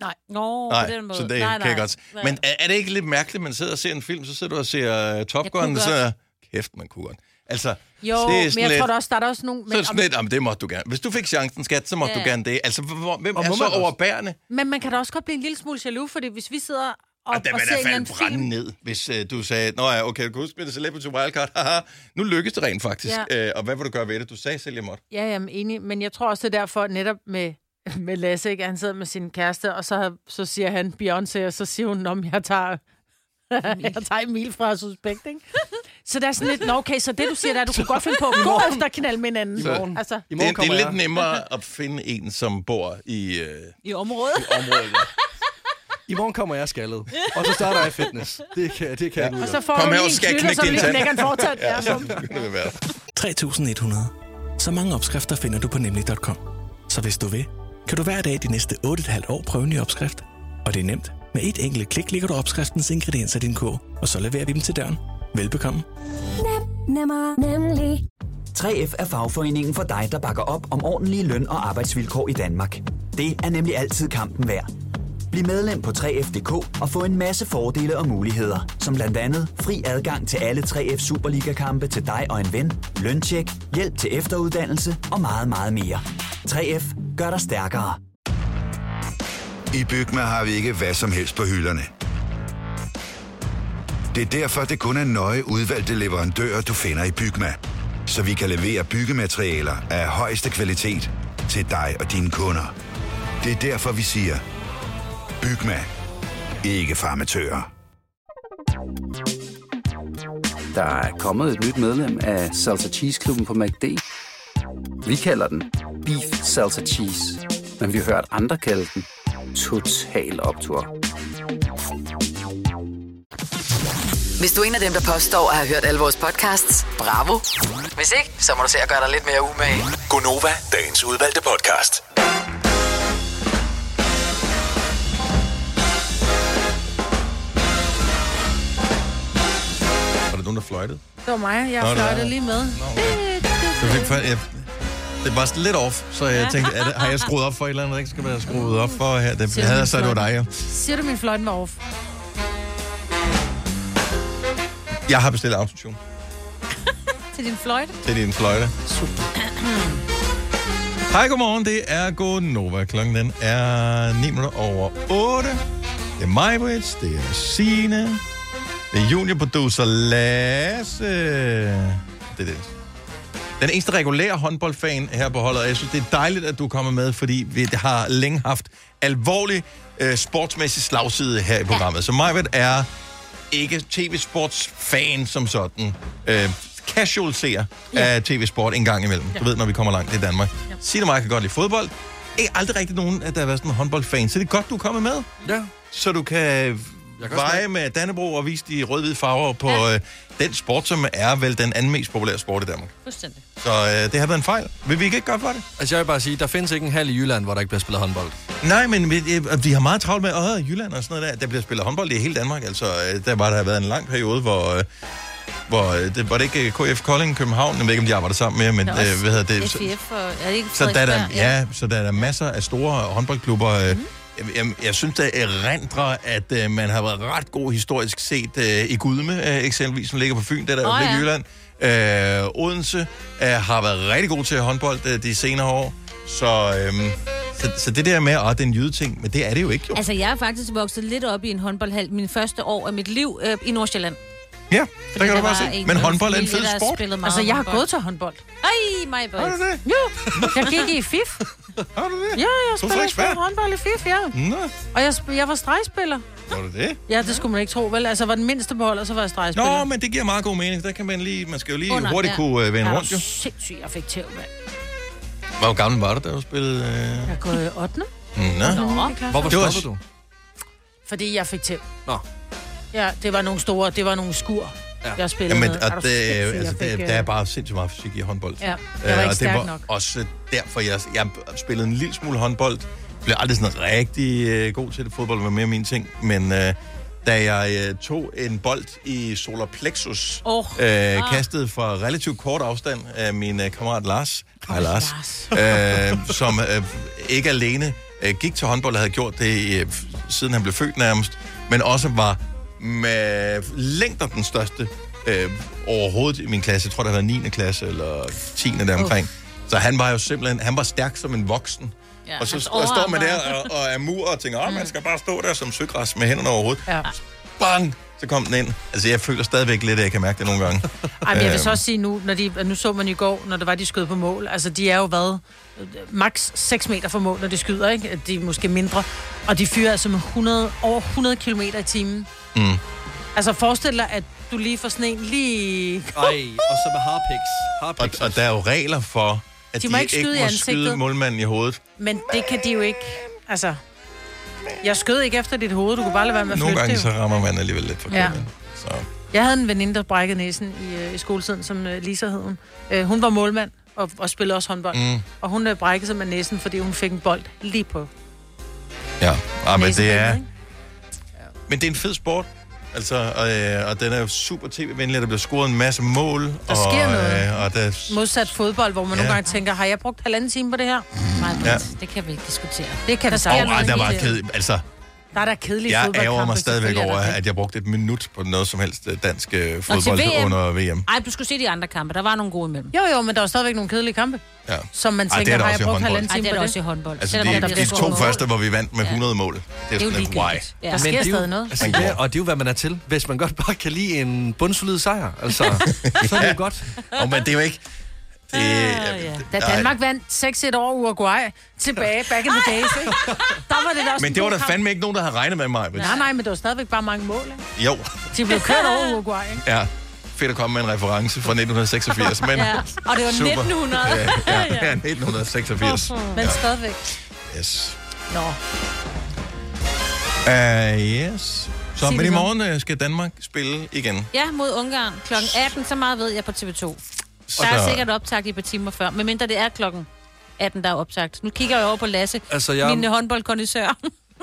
[SPEAKER 2] Nej.
[SPEAKER 4] Nå,
[SPEAKER 1] Nej,
[SPEAKER 4] på den måde.
[SPEAKER 1] så det
[SPEAKER 4] nej,
[SPEAKER 1] kan jeg
[SPEAKER 4] nej.
[SPEAKER 1] godt.
[SPEAKER 4] Nej.
[SPEAKER 1] Men er, er det ikke lidt mærkeligt, at man sidder og ser en film, så sidder du og ser uh, Top
[SPEAKER 4] Jeg kunne
[SPEAKER 1] Gun, og så
[SPEAKER 4] godt.
[SPEAKER 1] er kæft, man kunne godt. Altså,
[SPEAKER 2] Jo,
[SPEAKER 1] så det er sådan
[SPEAKER 2] men jeg
[SPEAKER 1] lidt,
[SPEAKER 2] tror da også, der er der også
[SPEAKER 1] så
[SPEAKER 2] nogen...
[SPEAKER 1] er det
[SPEAKER 2] Men,
[SPEAKER 1] sådan lidt, jamen, det måtte du gerne. Hvis du fik chancen, skat, så måtte
[SPEAKER 4] Ja.
[SPEAKER 1] du gerne det. Altså, hvor- hvor- hvem
[SPEAKER 3] Og
[SPEAKER 1] er
[SPEAKER 3] må
[SPEAKER 1] så
[SPEAKER 3] man også?
[SPEAKER 1] overbærende?
[SPEAKER 2] men man kan da også godt blive en lille smule jaloux, fordi hvis vi sidder og, og,
[SPEAKER 1] Og Altså, der vil
[SPEAKER 2] ser en
[SPEAKER 1] da
[SPEAKER 2] eller
[SPEAKER 1] falde brænde
[SPEAKER 2] anden film...
[SPEAKER 1] ned, hvis øh, du sagde, Nå ja, okay, du kan huske med det celebrity wildcard, haha, nu lykkes det rent faktisk.
[SPEAKER 2] Ja.
[SPEAKER 1] Øh, og hvad vil du gøre ved det? Du sagde selv, jeg måtte.
[SPEAKER 2] Ja, jamen enig. Men jeg tror også, det er derfor netop med, med Lasse, ikke? han sidder med sin kæreste, og så, så siger han Beyoncé, og så siger hun, om jeg tager... jeg tager Emil fra Suspekt, ikke? Så der er sådan lidt, "Nå, okay, så det du siger, der, er, du kunne godt finde på at gå efter at knalde med hinanden.
[SPEAKER 3] I morgen.
[SPEAKER 2] Altså,
[SPEAKER 3] I
[SPEAKER 1] Det,
[SPEAKER 3] morgen
[SPEAKER 1] er- det
[SPEAKER 3] kommer
[SPEAKER 1] er
[SPEAKER 3] jeg.
[SPEAKER 1] lidt nemmere at finde en, som bor i øh,
[SPEAKER 4] I området.
[SPEAKER 1] området.
[SPEAKER 3] I morgen kommer jeg skaldet. Og så starter jeg fitness. Det kan, det kan ja. jeg
[SPEAKER 2] og så får
[SPEAKER 1] Kom her,
[SPEAKER 2] du lige
[SPEAKER 1] og
[SPEAKER 2] en
[SPEAKER 1] skal jeg
[SPEAKER 2] knytter,
[SPEAKER 1] knække
[SPEAKER 2] så
[SPEAKER 1] din
[SPEAKER 2] vil jeg
[SPEAKER 1] tand?
[SPEAKER 2] knække en fortand. Ja,
[SPEAKER 1] Ja,
[SPEAKER 2] bum.
[SPEAKER 1] det kunne det være.
[SPEAKER 13] 3.100. Så mange opskrifter finder du på nemlig.com. Så hvis du vil, kan du hver dag de næste 8,5 år prøve en ny opskrift. Og det er nemt. Med et enkelt klik ligger du opskriftens ingredienser i din kog, og så leverer vi dem til døren. Velbekomme.
[SPEAKER 14] Nemmer, nemlig.
[SPEAKER 15] 3F er fagforeningen for dig, der bakker op om ordentlige løn- og arbejdsvilkår i Danmark. Det er nemlig altid kampen værd. Bliv medlem på 3F.dk og få en masse fordele og muligheder, som blandt andet fri adgang til alle 3F Superliga-kampe til dig og en ven, løntjek, hjælp til efteruddannelse og meget, meget mere. 3F gør dig stærkere.
[SPEAKER 16] I Bygma har vi ikke hvad som helst på hylderne. Det er derfor, det kun er nøje udvalgte leverandører, du finder i Bygma. Så vi kan levere byggematerialer af højeste kvalitet til dig og dine kunder. Det er derfor, vi siger, Bygma. Ikke farmatører.
[SPEAKER 17] Der er kommet et nyt medlem af Salsa Cheese Klubben på MACD. Vi kalder den Beef Salsa Cheese, men vi har hørt andre kalde den Total Optor.
[SPEAKER 18] Hvis du er en af dem, der påstår at have hørt alle vores podcasts, bravo. Hvis ikke, så må du se at gøre dig lidt mere umage.
[SPEAKER 12] Gonova, dagens udvalgte podcast.
[SPEAKER 1] Var der nogen, der fløjtede?
[SPEAKER 2] Det var mig, jeg
[SPEAKER 1] Nå, det var-
[SPEAKER 2] fløjtede lige med.
[SPEAKER 1] Det, var, fordi, jeg, det var sådan lidt off, så jeg tænkte, er det, har jeg skruet op for et eller andet, der ikke skal være skruet op for her? Det
[SPEAKER 2] Siger
[SPEAKER 1] havde
[SPEAKER 2] du
[SPEAKER 1] jeg
[SPEAKER 2] min
[SPEAKER 1] sagt, det var dig, ja.
[SPEAKER 2] Siger du, min fløjten var off?
[SPEAKER 1] Jeg har bestilt autotune
[SPEAKER 4] Til din fløjte.
[SPEAKER 1] til din fløjte. Super. Hej, godmorgen. Det er Godnova. Klokken den er 9 minutter over 8. Det er mig, Brits. Det er Signe. Det er juniorproducer Lasse. Det er det. Den eneste regulære håndboldfan her på holdet, og jeg synes, det er dejligt, at du kommer med, fordi vi har længe haft alvorlig øh, sportsmæssig slagside her i programmet. Ja. Så Majved er ikke tv-sportsfan som sådan. Øh, casual ser ja. af tv-sport en gang imellem. Ja. Du ved, når vi kommer langt i Danmark. Ja. Signe og mig kan godt lide fodbold. Ikke aldrig rigtig nogen, at der har været sådan en håndboldfan. Så det er godt, du er kommet med.
[SPEAKER 3] Ja.
[SPEAKER 1] Så du kan,
[SPEAKER 3] kan også
[SPEAKER 1] veje med Dannebro og vise de rød-hvide farver på ja. øh, den sport, som er vel den anden mest populære sport i Danmark.
[SPEAKER 4] Fuldstændig.
[SPEAKER 1] Så øh, det har været en fejl. Vil vi ikke gøre for det?
[SPEAKER 3] Altså, jeg vil bare sige, der findes ikke en halv i Jylland, hvor der ikke bliver spillet håndbold.
[SPEAKER 1] Nej, men vi, øh, vi har meget travlt med, åh, Jylland og sådan noget der, der bliver spillet håndbold i hele Danmark. Altså, øh, der var der har været en lang periode, hvor, øh, hvor øh, det, var det ikke øh, KF Kolding København, jeg ved ikke, om de arbejder sammen mere, men
[SPEAKER 4] Der er
[SPEAKER 1] øh,
[SPEAKER 4] også
[SPEAKER 1] hvad hedder det? Så,
[SPEAKER 4] FIF og... Er det ikke
[SPEAKER 1] så der er der,
[SPEAKER 4] Frederiksberg?
[SPEAKER 1] ja, så der er der masser af store håndboldklubber, øh, mm. jeg, jeg, jeg synes, det erindrer, at øh, man har været ret god historisk set øh, i Gudme, øh, eksempelvis, som ligger på Fyn, det der
[SPEAKER 19] Åh,
[SPEAKER 1] oh, ja.
[SPEAKER 19] ja.
[SPEAKER 1] i Jylland. Øh, Odense øh, har været rigtig god til håndbold øh, de senere år. Så, øh, så, så det der med, at det er en jydeting, men det er det jo ikke, jo.
[SPEAKER 4] Altså, jeg er faktisk vokset lidt op i en håndboldhal min første år af mit liv øh, i Nordsjælland.
[SPEAKER 1] Ja, det kan
[SPEAKER 4] der
[SPEAKER 1] du bare
[SPEAKER 4] var
[SPEAKER 1] se.
[SPEAKER 4] en
[SPEAKER 1] Men
[SPEAKER 4] i min
[SPEAKER 1] håndbold er en fed
[SPEAKER 4] familie, der
[SPEAKER 1] sport.
[SPEAKER 4] spillede meget
[SPEAKER 2] Altså, jeg har
[SPEAKER 4] håndbold.
[SPEAKER 2] gået til håndbold.
[SPEAKER 4] Ej, mig boys.
[SPEAKER 2] Har du det? Jo, jeg gik i FIF.
[SPEAKER 1] Har du det?
[SPEAKER 2] Ja, jeg
[SPEAKER 1] Hvorfor
[SPEAKER 2] spiller,
[SPEAKER 1] ikke
[SPEAKER 2] jeg spiller
[SPEAKER 1] svært?
[SPEAKER 2] håndbold i FIF, ja.
[SPEAKER 1] Nå,
[SPEAKER 2] Og jeg, sp- jeg var stregspiller.
[SPEAKER 1] var det det?
[SPEAKER 2] Ja, det skulle man ikke tro, vel? Altså, jeg var den mindste på holdet, og så var jeg stregspiller.
[SPEAKER 1] Nå, men det giver meget god mening. Der kan man lige, man skal jo lige
[SPEAKER 2] Under,
[SPEAKER 1] hurtigt
[SPEAKER 2] ja.
[SPEAKER 1] kunne øh, vende
[SPEAKER 2] Ja,
[SPEAKER 1] rundt, jo.
[SPEAKER 2] Sindssygt, jeg fik tæv, mand.
[SPEAKER 1] Hvor gammel var du, da du spillede? Øh...
[SPEAKER 2] Jeg er gået i 8.
[SPEAKER 1] Nå.
[SPEAKER 2] Hvorfor
[SPEAKER 1] Det var-
[SPEAKER 2] stoppede
[SPEAKER 3] du?
[SPEAKER 2] Fordi jeg fik tæv.
[SPEAKER 3] Nå.
[SPEAKER 2] Ja, det var nogle store, det var nogle skur, ja. jeg spillede
[SPEAKER 1] Jamen,
[SPEAKER 2] med. Er du
[SPEAKER 1] og det,
[SPEAKER 2] sindssyg,
[SPEAKER 1] altså,
[SPEAKER 2] jeg
[SPEAKER 1] det,
[SPEAKER 2] fik,
[SPEAKER 1] der er
[SPEAKER 2] øh,
[SPEAKER 1] bare sindssygt meget fysik i håndbold.
[SPEAKER 2] Ja, jeg var
[SPEAKER 1] Øh,
[SPEAKER 2] ikke
[SPEAKER 1] og
[SPEAKER 2] stærk
[SPEAKER 1] det var
[SPEAKER 2] nok.
[SPEAKER 1] også derfor, jeg, jeg spillede en lille smule håndbold. Blev aldrig sådan rigtig øh, god til det. Fodbold var mere min ting. Men øh, da jeg øh, tog en bold i solar plexus,
[SPEAKER 19] Åh.
[SPEAKER 1] øh,
[SPEAKER 19] Ah.
[SPEAKER 1] kastet fra relativt kort afstand af min øh, kammerat Lars, hej Lars, Lars. Øh, som øh, ikke alene øh, gik til håndbold og havde gjort det øh, f- siden han blev født nærmest, men også var med længder den største øh, overhovedet i min klasse. Jeg tror, det var 9. klasse eller 10. deromkring. Så han var jo simpelthen, han var stærk som en voksen.
[SPEAKER 19] Ja,
[SPEAKER 1] Ja, og så
[SPEAKER 19] hans
[SPEAKER 1] st- og står man der
[SPEAKER 19] overarm var-
[SPEAKER 1] og, og er mur og tænker, at man skal bare stå der som søgræs med hænderne overhovedet.
[SPEAKER 2] Mm. Ja.
[SPEAKER 1] Bang! Så kom den ind. Altså, jeg føler stadigvæk lidt, at jeg kan mærke det nogle gange.
[SPEAKER 2] Ej, men jeg vil så
[SPEAKER 1] Øhm.
[SPEAKER 2] også sige nu, når de, nu så man i går, når det var, de skød på mål. Altså, de er jo hvad? Max 6 meter fra mål, når de skyder, ikke? De er måske mindre. Og de fyrer altså med 100, over 100 km i timen.
[SPEAKER 1] Mm.
[SPEAKER 2] Altså, forestil dig, at du lige får sådan en lige...
[SPEAKER 3] Ej, og så med harpiks.
[SPEAKER 1] Og,
[SPEAKER 3] harpiks
[SPEAKER 1] og der er jo regler for, at
[SPEAKER 2] De
[SPEAKER 1] de,
[SPEAKER 2] må
[SPEAKER 1] ikke,
[SPEAKER 2] ikke skyde i
[SPEAKER 1] må
[SPEAKER 2] ansigtet.
[SPEAKER 1] skyde målmanden i hovedet.
[SPEAKER 2] Men det kan de jo ikke... Altså... Jeg skød ikke efter dit hoved, du kunne bare lade være med at
[SPEAKER 1] Nogle
[SPEAKER 2] flytte
[SPEAKER 1] gange
[SPEAKER 2] det.
[SPEAKER 1] så
[SPEAKER 2] jo.
[SPEAKER 1] rammer man alligevel lidt forkert.
[SPEAKER 2] Ja.
[SPEAKER 1] Så.
[SPEAKER 2] Jeg havde en veninde, der brækkede næsen i, øh, i skoletiden, som øh, Lisa hed hun. Øh, hun var målmand og, og spillede også håndbold.
[SPEAKER 1] Mm.
[SPEAKER 2] Mm. Og hun øh, brækkede sig med næsen, fordi hun fik en bold lige på.
[SPEAKER 1] Ja, ah, men det
[SPEAKER 2] Næsebenet,
[SPEAKER 1] er...
[SPEAKER 2] ikke?
[SPEAKER 1] Men det er en fed sport. Altså, og, øh, og den er jo super tv-venlig, og der bliver scoret en masse mål. Der og,
[SPEAKER 2] sker noget.
[SPEAKER 1] Øh, og der,
[SPEAKER 2] Modsat fodbold, hvor man
[SPEAKER 1] Ja.
[SPEAKER 2] ja. nogle gange tænker, har jeg brugt halvanden time på det her? Nej,
[SPEAKER 1] Ja.
[SPEAKER 2] det kan vi ikke diskutere. Det kan
[SPEAKER 4] Der
[SPEAKER 2] der
[SPEAKER 4] sker
[SPEAKER 2] sker
[SPEAKER 1] og, ej, der var ked, altså,
[SPEAKER 2] Der er der kedelige
[SPEAKER 1] jeg
[SPEAKER 2] fodboldkampe.
[SPEAKER 1] ærger mig stadigvæk
[SPEAKER 2] selvfølgelig er
[SPEAKER 1] over,
[SPEAKER 2] der det.
[SPEAKER 1] at jeg brugte et minut på noget som helst øh, dansk øh,
[SPEAKER 4] Nå, til
[SPEAKER 1] fodbold
[SPEAKER 4] VM.
[SPEAKER 1] under VM.
[SPEAKER 4] Ej, du skulle se de andre kampe. Der var nogle gode imellem.
[SPEAKER 2] Jo, jo, men der var stadigvæk nogle kedelige kampe.
[SPEAKER 1] Ja.
[SPEAKER 2] Som man
[SPEAKER 1] Ej, det er
[SPEAKER 2] tænker,
[SPEAKER 1] der
[SPEAKER 2] har jeg
[SPEAKER 1] også i
[SPEAKER 2] brugt
[SPEAKER 1] håndbold.
[SPEAKER 2] halvanden
[SPEAKER 4] Ej,
[SPEAKER 2] time
[SPEAKER 4] det er
[SPEAKER 2] på
[SPEAKER 4] der
[SPEAKER 2] det?
[SPEAKER 4] også i håndbold.
[SPEAKER 1] Altså,
[SPEAKER 4] Selvom der
[SPEAKER 1] de, de
[SPEAKER 4] bliver
[SPEAKER 1] to
[SPEAKER 4] scoret
[SPEAKER 1] første,
[SPEAKER 4] mål.
[SPEAKER 1] hvor vi vandt med 100 mål. Det er,
[SPEAKER 4] jo
[SPEAKER 1] sådan lidt, why?
[SPEAKER 4] ligegyldigt. Ja. Der
[SPEAKER 3] Men
[SPEAKER 4] sker
[SPEAKER 3] det er jo-
[SPEAKER 4] stadig noget.
[SPEAKER 3] Altså,
[SPEAKER 4] Man
[SPEAKER 3] ja,
[SPEAKER 4] går.
[SPEAKER 3] og det er jo, hvad man er til. Hvis man godt bare kan lide en bundsolid sejr, altså, så er det jo godt.
[SPEAKER 1] Og men det er jo ikke... Det,
[SPEAKER 2] Ah, ja. Da Danmark vandt 6-1 over Uruguay tilbage, back in the days, ikke? Der var det da også
[SPEAKER 1] Men
[SPEAKER 2] en
[SPEAKER 1] det var
[SPEAKER 2] god
[SPEAKER 1] der
[SPEAKER 2] kamp.
[SPEAKER 1] fandme ikke nogen, der havde regnet med mig. men-
[SPEAKER 2] Nej, nej, men det var stadigvæk bare mange mål, ikke?
[SPEAKER 1] Jo,
[SPEAKER 2] De blev kørt over Uruguay, ikke?
[SPEAKER 1] ja. Fedt at komme med en reference fra 1986, men...
[SPEAKER 2] Ja. Og det var
[SPEAKER 1] Super.
[SPEAKER 2] 1900.
[SPEAKER 1] Ja, ja, ja, 1986.
[SPEAKER 2] Men
[SPEAKER 1] Ja.
[SPEAKER 2] stadigvæk.
[SPEAKER 1] Yes.
[SPEAKER 2] Nå.
[SPEAKER 1] Uh, yes. Så,
[SPEAKER 4] Sig
[SPEAKER 1] men i
[SPEAKER 4] det så.
[SPEAKER 1] morgen øh, skal Danmark spille igen.
[SPEAKER 4] Ja, mod Ungarn. Klokken 18, så meget ved jeg på TV2. Der
[SPEAKER 1] Så-
[SPEAKER 4] er sikkert optagt i et par timer før, medmindre det er klokken 18, der er optagt. Nu kigger jeg over på Lasse,
[SPEAKER 3] Altså, jeg-
[SPEAKER 4] min øh, håndboldkondisør.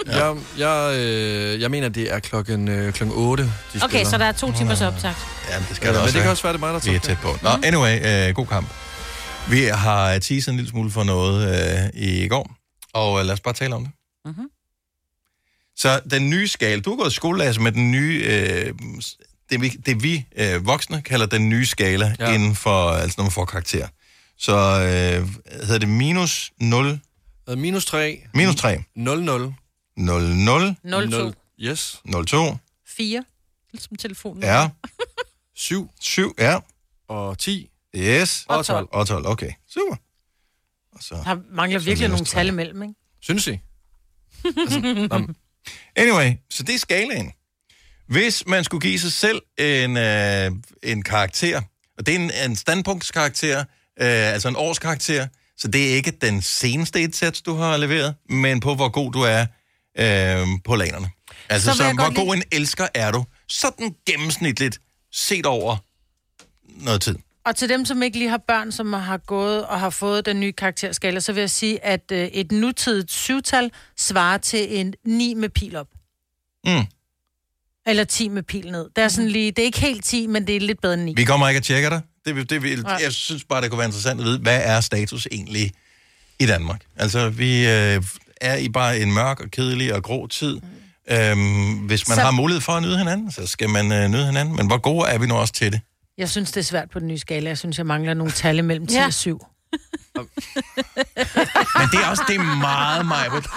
[SPEAKER 3] Ja. Jeg, jeg, øh, jeg mener, det er klokken, øh, klokken 8, de
[SPEAKER 4] okay,
[SPEAKER 3] spiller.
[SPEAKER 4] så der er to timers optagt.
[SPEAKER 1] Ja, det skal
[SPEAKER 3] Ja,
[SPEAKER 1] der
[SPEAKER 3] men
[SPEAKER 1] også
[SPEAKER 3] det kan
[SPEAKER 1] være.
[SPEAKER 3] også være, det er mig, der
[SPEAKER 1] Vi er
[SPEAKER 3] tager
[SPEAKER 1] tæt på. Nå,
[SPEAKER 4] Mm.
[SPEAKER 1] anyway, øh, god kamp. Vi har øh, teaset en lille smule for noget øh, i går, og øh, lad os bare tale om det.
[SPEAKER 4] Mhm.
[SPEAKER 1] Så den nye skala, du har gået i skole, Lasse, med den nye, øh, s- det vi, det vi øh, voksne kalder den nye skala, ja. inden for, altså når man får karakter. Så øh, hedder det minus 0?
[SPEAKER 3] Minus 3.
[SPEAKER 1] Minus 3.
[SPEAKER 3] 0, 0.
[SPEAKER 1] 0, 0.
[SPEAKER 2] 0, 2.
[SPEAKER 3] Yes.
[SPEAKER 1] 0, 2.
[SPEAKER 2] 4. Ligesom telefonen.
[SPEAKER 1] Ja.
[SPEAKER 3] 7.
[SPEAKER 1] 7, ja.
[SPEAKER 3] Og 10.
[SPEAKER 1] Yes.
[SPEAKER 2] Og 12.
[SPEAKER 1] Og 12, okay. Super. Og så,
[SPEAKER 2] Der mangler
[SPEAKER 1] Så
[SPEAKER 2] virkelig
[SPEAKER 1] minus
[SPEAKER 2] nogle tal imellem, ikke?
[SPEAKER 3] synes I?
[SPEAKER 1] Anyway, så det er skalaen. Hvis man skulle give sig selv en, øh, en karakter, og det er en, en standpunktskarakter, øh, altså en årskarakter, så det er ikke den seneste et sæt, du har leveret, men på hvor god du er øh, på lanerne. Altså,
[SPEAKER 2] Så
[SPEAKER 1] så
[SPEAKER 2] vil jeg
[SPEAKER 1] hvor
[SPEAKER 2] godt
[SPEAKER 1] god en elsker er du, sådan gennemsnitligt set over noget tid.
[SPEAKER 2] Og til dem, som ikke lige har børn, som har gået og har fået den nye karakterskala, så vil jeg sige, at øh, et nutidigt syvtal svarer til en 9 med pil op.
[SPEAKER 1] Mm.
[SPEAKER 2] Eller 10 med pil ned. Det er, sådan lige, det er ikke helt 10, men det er lidt bedre end 9.
[SPEAKER 1] Vi kommer ikke at tjekke dig. Det, vil- det, vil,
[SPEAKER 2] Nej.
[SPEAKER 1] jeg synes bare, det kunne være interessant at vide, hvad er status egentlig i Danmark? Altså, vi øh, er i bare en mørk og kedelig og grå tid. Mm. Øhm, hvis man så...
[SPEAKER 2] Så-
[SPEAKER 1] har mulighed for at nyde hinanden, så skal man øh, nyde hinanden. Men hvor gode er vi nu også til det?
[SPEAKER 2] Jeg synes, det er svært på den nye skala. Jeg synes, jeg mangler nogle tal mellem 10 ja. og 7.
[SPEAKER 1] Men det er også det er meget, meget.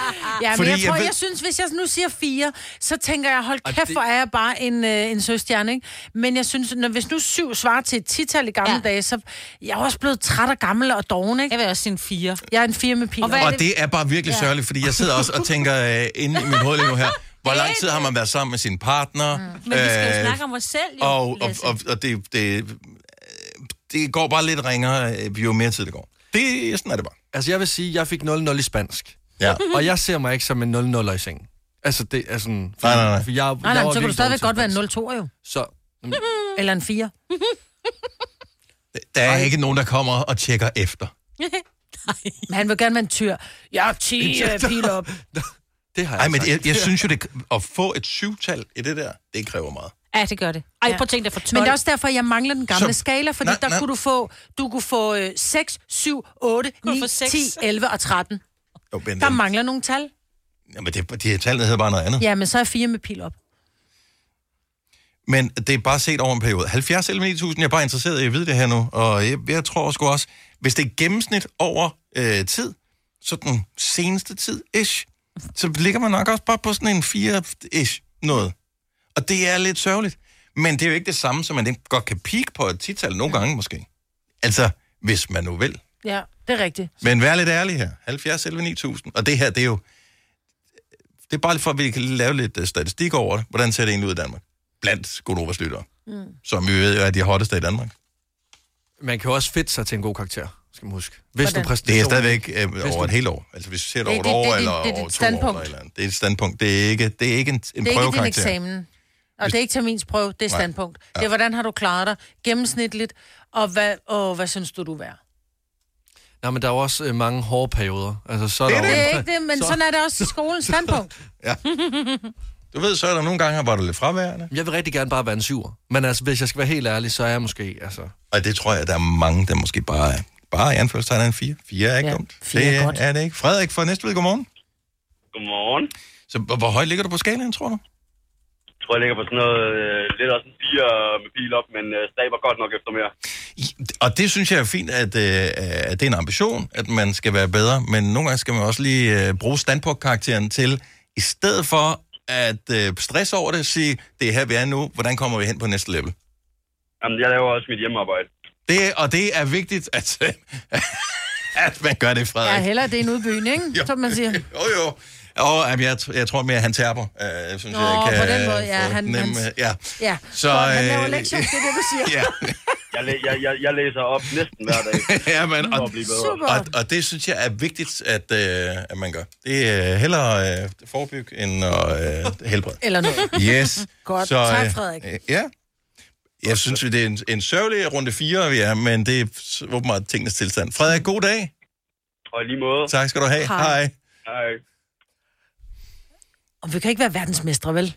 [SPEAKER 2] Ja, men
[SPEAKER 1] Fordi
[SPEAKER 2] jeg
[SPEAKER 1] jeg
[SPEAKER 2] tror, jeg,
[SPEAKER 1] ved-
[SPEAKER 2] jeg synes, hvis jeg nu siger 4, så tænker jeg, hold
[SPEAKER 1] Og
[SPEAKER 2] kæft,
[SPEAKER 1] det-
[SPEAKER 2] hvor er jeg bare en, øh, en søstjerne, ikke? Men jeg synes, når, hvis nu 7 svarer til et tital i gamle ja. dage, så jeg er også blevet træt og gammel og doven, ikke? Jeg vil også sige en 4. Jeg er en 4 med piler.
[SPEAKER 1] Og det er bare virkelig ja. sørgeligt, fordi jeg sidder også og tænker øh, inde i mit hoved lige nu her, hvor lang tid har man været sammen med sin partner? Mm.
[SPEAKER 4] Men vi skal jo snakke om os selv, jo.
[SPEAKER 1] Og, og,
[SPEAKER 4] Lasse.
[SPEAKER 1] og, og det, det, det går bare lidt ringere, øh, jo mere tid det går. Det, sådan er det bare.
[SPEAKER 3] Altså, jeg vil sige, at jeg fik 0-0 i spansk.
[SPEAKER 1] Ja.
[SPEAKER 3] Og jeg ser mig ikke som en 0-0 i sengen. Altså, det er sådan... For,
[SPEAKER 1] Nej, nej, nej.
[SPEAKER 3] For jeg,
[SPEAKER 2] Nej, nej,
[SPEAKER 3] jeg var
[SPEAKER 2] men så kan du
[SPEAKER 3] virkelig
[SPEAKER 2] stadigvæk
[SPEAKER 3] dårlig
[SPEAKER 2] godt være en 0-2, jo.
[SPEAKER 3] til- Så
[SPEAKER 2] Eller en 4.
[SPEAKER 1] Der er ikke nogen, der kommer og tjekker efter.
[SPEAKER 2] Men han vil gerne være en tyr. Jeg er 10 øh, pil op.
[SPEAKER 3] Det har
[SPEAKER 1] jeg Ej, men jeg, jeg synes jo, det, at få et syvtal i det der, det kræver meget.
[SPEAKER 2] Ja, det gør det.
[SPEAKER 4] Ej, prøv at tænke dig for 12.
[SPEAKER 2] Men det er også derfor, jeg mangler den gamle
[SPEAKER 1] Så-
[SPEAKER 2] så... skala, fordi
[SPEAKER 1] Nej,
[SPEAKER 2] der
[SPEAKER 1] nej.
[SPEAKER 2] kunne du få, du kunne få øh, 6, 7, 8, 9, 10, 11 og 13.
[SPEAKER 1] Jo, men,
[SPEAKER 2] Der mangler nogle tal.
[SPEAKER 1] jamen, det, de tallene hedder bare noget andet.
[SPEAKER 2] Ja, men så er 4 med pil op.
[SPEAKER 1] Men det er bare set over en periode. 70 11 9000, jeg er bare interesseret i at vide det her nu. Og jeg, jeg tror sgu også, hvis det er gennemsnit over øh, tid, så den seneste tid, ish, så ligger man nok også bare på sådan en 4-ish noget. Og det er lidt sørgeligt. Men det er jo ikke det samme, som man den godt kan peak på et tital nogle gange måske. Altså, hvis man nu vil.
[SPEAKER 2] Ja, det er rigtigt.
[SPEAKER 1] Men vær lidt ærlig her. 70 11 9000. Og det her, det er jo... Det er bare for, at vi kan lave lidt øh, statistik over det. Hvordan ser det egentlig ud i Danmark? Blandt Godovas lyttere. Mm. Som vi ved jo er de hotteste i Danmark.
[SPEAKER 3] man kan jo også fedte sig til en god karakter, skal man huske. Hvis
[SPEAKER 1] Hvordan?
[SPEAKER 3] du præsterer...
[SPEAKER 1] Det er stadigvæk, øh,
[SPEAKER 3] Hvis
[SPEAKER 1] over
[SPEAKER 3] du-
[SPEAKER 1] et helt år. Altså hvis du ser det
[SPEAKER 2] Det-
[SPEAKER 1] over et
[SPEAKER 2] det-
[SPEAKER 1] år, eller
[SPEAKER 2] det- det- det er
[SPEAKER 1] over
[SPEAKER 2] dit
[SPEAKER 1] to år, eller
[SPEAKER 2] standpunkt.
[SPEAKER 1] et eller andet. Det er et standpunkt. Det er ikke, det er ikke en, en
[SPEAKER 2] det er ikke din
[SPEAKER 1] prøvekarakter.
[SPEAKER 2] eksamen. Og det er ikke terminsprøve, det er
[SPEAKER 1] Nej.
[SPEAKER 2] standpunkt. Ja. Det er, hvordan har du klaret dig gennemsnitligt, og hvad, og hvad synes du, du er værd?
[SPEAKER 3] Nej, men der er jo også øh, mange hårde perioder. Altså, så er
[SPEAKER 2] Det
[SPEAKER 3] der
[SPEAKER 2] er,
[SPEAKER 3] jo-
[SPEAKER 2] det er ikke det, men så...
[SPEAKER 3] så-
[SPEAKER 2] sådan er det også i skolens standpunkt.
[SPEAKER 1] ja. Du ved, så er der nogle gange, hvor du er lidt fraværende.
[SPEAKER 3] Jeg vil rigtig gerne bare være en syver. Men altså, hvis jeg skal være helt ærlig, så er jeg måske... Altså,
[SPEAKER 1] Og det tror jeg, der er mange, der måske bare er. Bare i anførselstegn er en 4. 4 er ikke ja, dumt.
[SPEAKER 3] fire er
[SPEAKER 1] det
[SPEAKER 3] godt.
[SPEAKER 1] er det ikke. Frederik fra Næstved, godmorgen.
[SPEAKER 19] Godmorgen.
[SPEAKER 1] Så hvor, hvor højt ligger du på skalaen, tror du?
[SPEAKER 19] Jeg tror, jeg ligger på sådan noget, øh, lidt også en 4 med pil op, men øh, stræber godt nok efter mere.
[SPEAKER 1] Og det synes jeg er fint, at, øh, at det er en ambition, at man skal være bedre, men nogle gange skal man også lige øh, bruge standpunktkarakteren til, i stedet for at øh, stresse over det, sige, det er her, vi er nu, hvordan kommer vi hen på næste level?
[SPEAKER 19] Jamen, jeg laver også mit hjemmearbejde.
[SPEAKER 1] Det, og det er vigtigt, at, øh, at man gør det, Frederik.
[SPEAKER 2] Ja, hellere det er en udbyen, ikke? Som man siger.
[SPEAKER 1] Jo, jo. Og jamen, jeg, tr- jeg tror mere, at han terper. Øh, Jeg synes,
[SPEAKER 2] Nå,
[SPEAKER 1] jeg kan
[SPEAKER 2] på den måde, ja,
[SPEAKER 1] øh,
[SPEAKER 2] han-
[SPEAKER 1] fornemme,
[SPEAKER 2] han-
[SPEAKER 1] ja.
[SPEAKER 2] Ja,
[SPEAKER 1] Så,
[SPEAKER 2] så, han laver
[SPEAKER 1] øh,
[SPEAKER 2] lektier, det er det, du siger.
[SPEAKER 1] ja.
[SPEAKER 19] Jeg, læ- jeg, jeg, jeg læser op næsten hver dag.
[SPEAKER 1] ja, men,
[SPEAKER 19] For
[SPEAKER 1] og,
[SPEAKER 19] at blive bedre.
[SPEAKER 1] og, og det synes jeg er vigtigt, at, øh, at man gør. Det er hellere øh, forebygge end at øh, helbrede.
[SPEAKER 2] Eller noget.
[SPEAKER 1] Yes.
[SPEAKER 2] Godt.
[SPEAKER 1] Så,
[SPEAKER 2] Tak,
[SPEAKER 1] øh,
[SPEAKER 2] Frederik.
[SPEAKER 1] øh, Ja. Jeg synes, det er en, en sørgelig runde fire, vi er, men det er s- åbenbart tingenes tilstand. Frederik, god dag.
[SPEAKER 19] Og i lige måde.
[SPEAKER 1] Tak skal du have.
[SPEAKER 2] Hej.
[SPEAKER 1] Hej.
[SPEAKER 19] Hej.
[SPEAKER 2] Og vi kan ikke være verdensmestre, vel?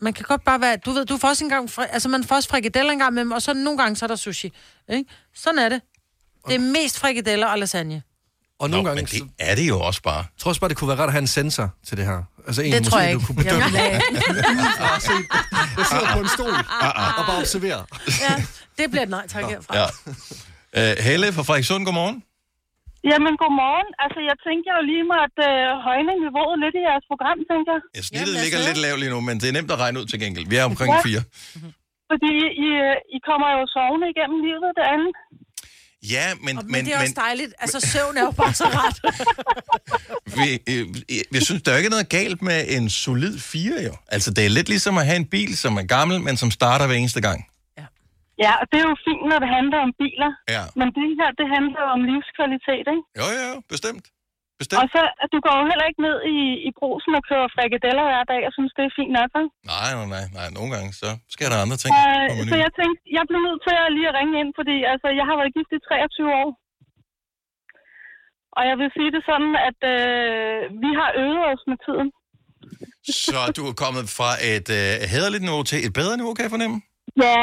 [SPEAKER 2] Man kan godt bare være... Du ved, du får også engang... Fri, altså, man får også frikadeller engang med, og så nogle gange, så er der sushi. Ikke? Sådan er det. Det er mest frikadeller og lasagne.
[SPEAKER 3] og nogle Nå, gange... Men det
[SPEAKER 1] er det jo også bare.
[SPEAKER 3] Jeg tror også bare, det kunne være rart at have en sensor til det her. Altså en,
[SPEAKER 2] Det
[SPEAKER 3] måske,
[SPEAKER 2] tror jeg
[SPEAKER 3] du
[SPEAKER 2] ikke.
[SPEAKER 3] kunne bedømme.
[SPEAKER 2] Jamen, ja.
[SPEAKER 3] Udefra og se, der sidder på en stol og bare observerer.
[SPEAKER 2] Ja, det bliver et nej tak herfra.
[SPEAKER 1] Ja. Øh, Helle fra Frederikssund, godmorgen.
[SPEAKER 20] Jamen, godmorgen. Altså, jeg tænker jo lige mig at øh, højne niveauet lidt i jeres program, tænker jeg.
[SPEAKER 1] Ja, snittet ligger lidt lavt lige nu, men det er nemt at regne ud til gengæld. Vi er omkring
[SPEAKER 20] Ja.
[SPEAKER 1] fire.
[SPEAKER 20] Fordi I, øh, I kommer jo sovende igennem livet, det andet.
[SPEAKER 1] Ja, men,
[SPEAKER 2] Men, men det er også dejligt. Altså, søvn er jo bare så rart.
[SPEAKER 1] vi, øh, jeg synes, der er jo ikke noget galt med en solid fire, jo. Altså, det er lidt ligesom at have en bil, som er gammel, men som starter hver eneste gang.
[SPEAKER 20] Ja, og det er jo fint, når det handler om biler.
[SPEAKER 1] Ja.
[SPEAKER 20] Men det her, det handler jo om livskvalitet, ikke?
[SPEAKER 1] Jo, jo, jo, bestemt.
[SPEAKER 20] Og så, at du går jo heller ikke ned i, i brusen og kører frikadeller hver dag, og synes, det er fint nok, vel?
[SPEAKER 1] Nej, nej, nej, nej. Nogle gange, så skal der andre ting.
[SPEAKER 20] Øh,
[SPEAKER 1] på
[SPEAKER 20] så
[SPEAKER 1] menuen.
[SPEAKER 20] jeg tænkte, jeg blev nødt til at lige at ringe ind, fordi altså, jeg har været gift i 23 år. Og jeg vil sige det sådan, at øh, vi har øvet os med tiden.
[SPEAKER 1] Så du er kommet fra et øh, hederligt niveau til et bedre niveau, kan jeg fornemme?
[SPEAKER 20] Ja,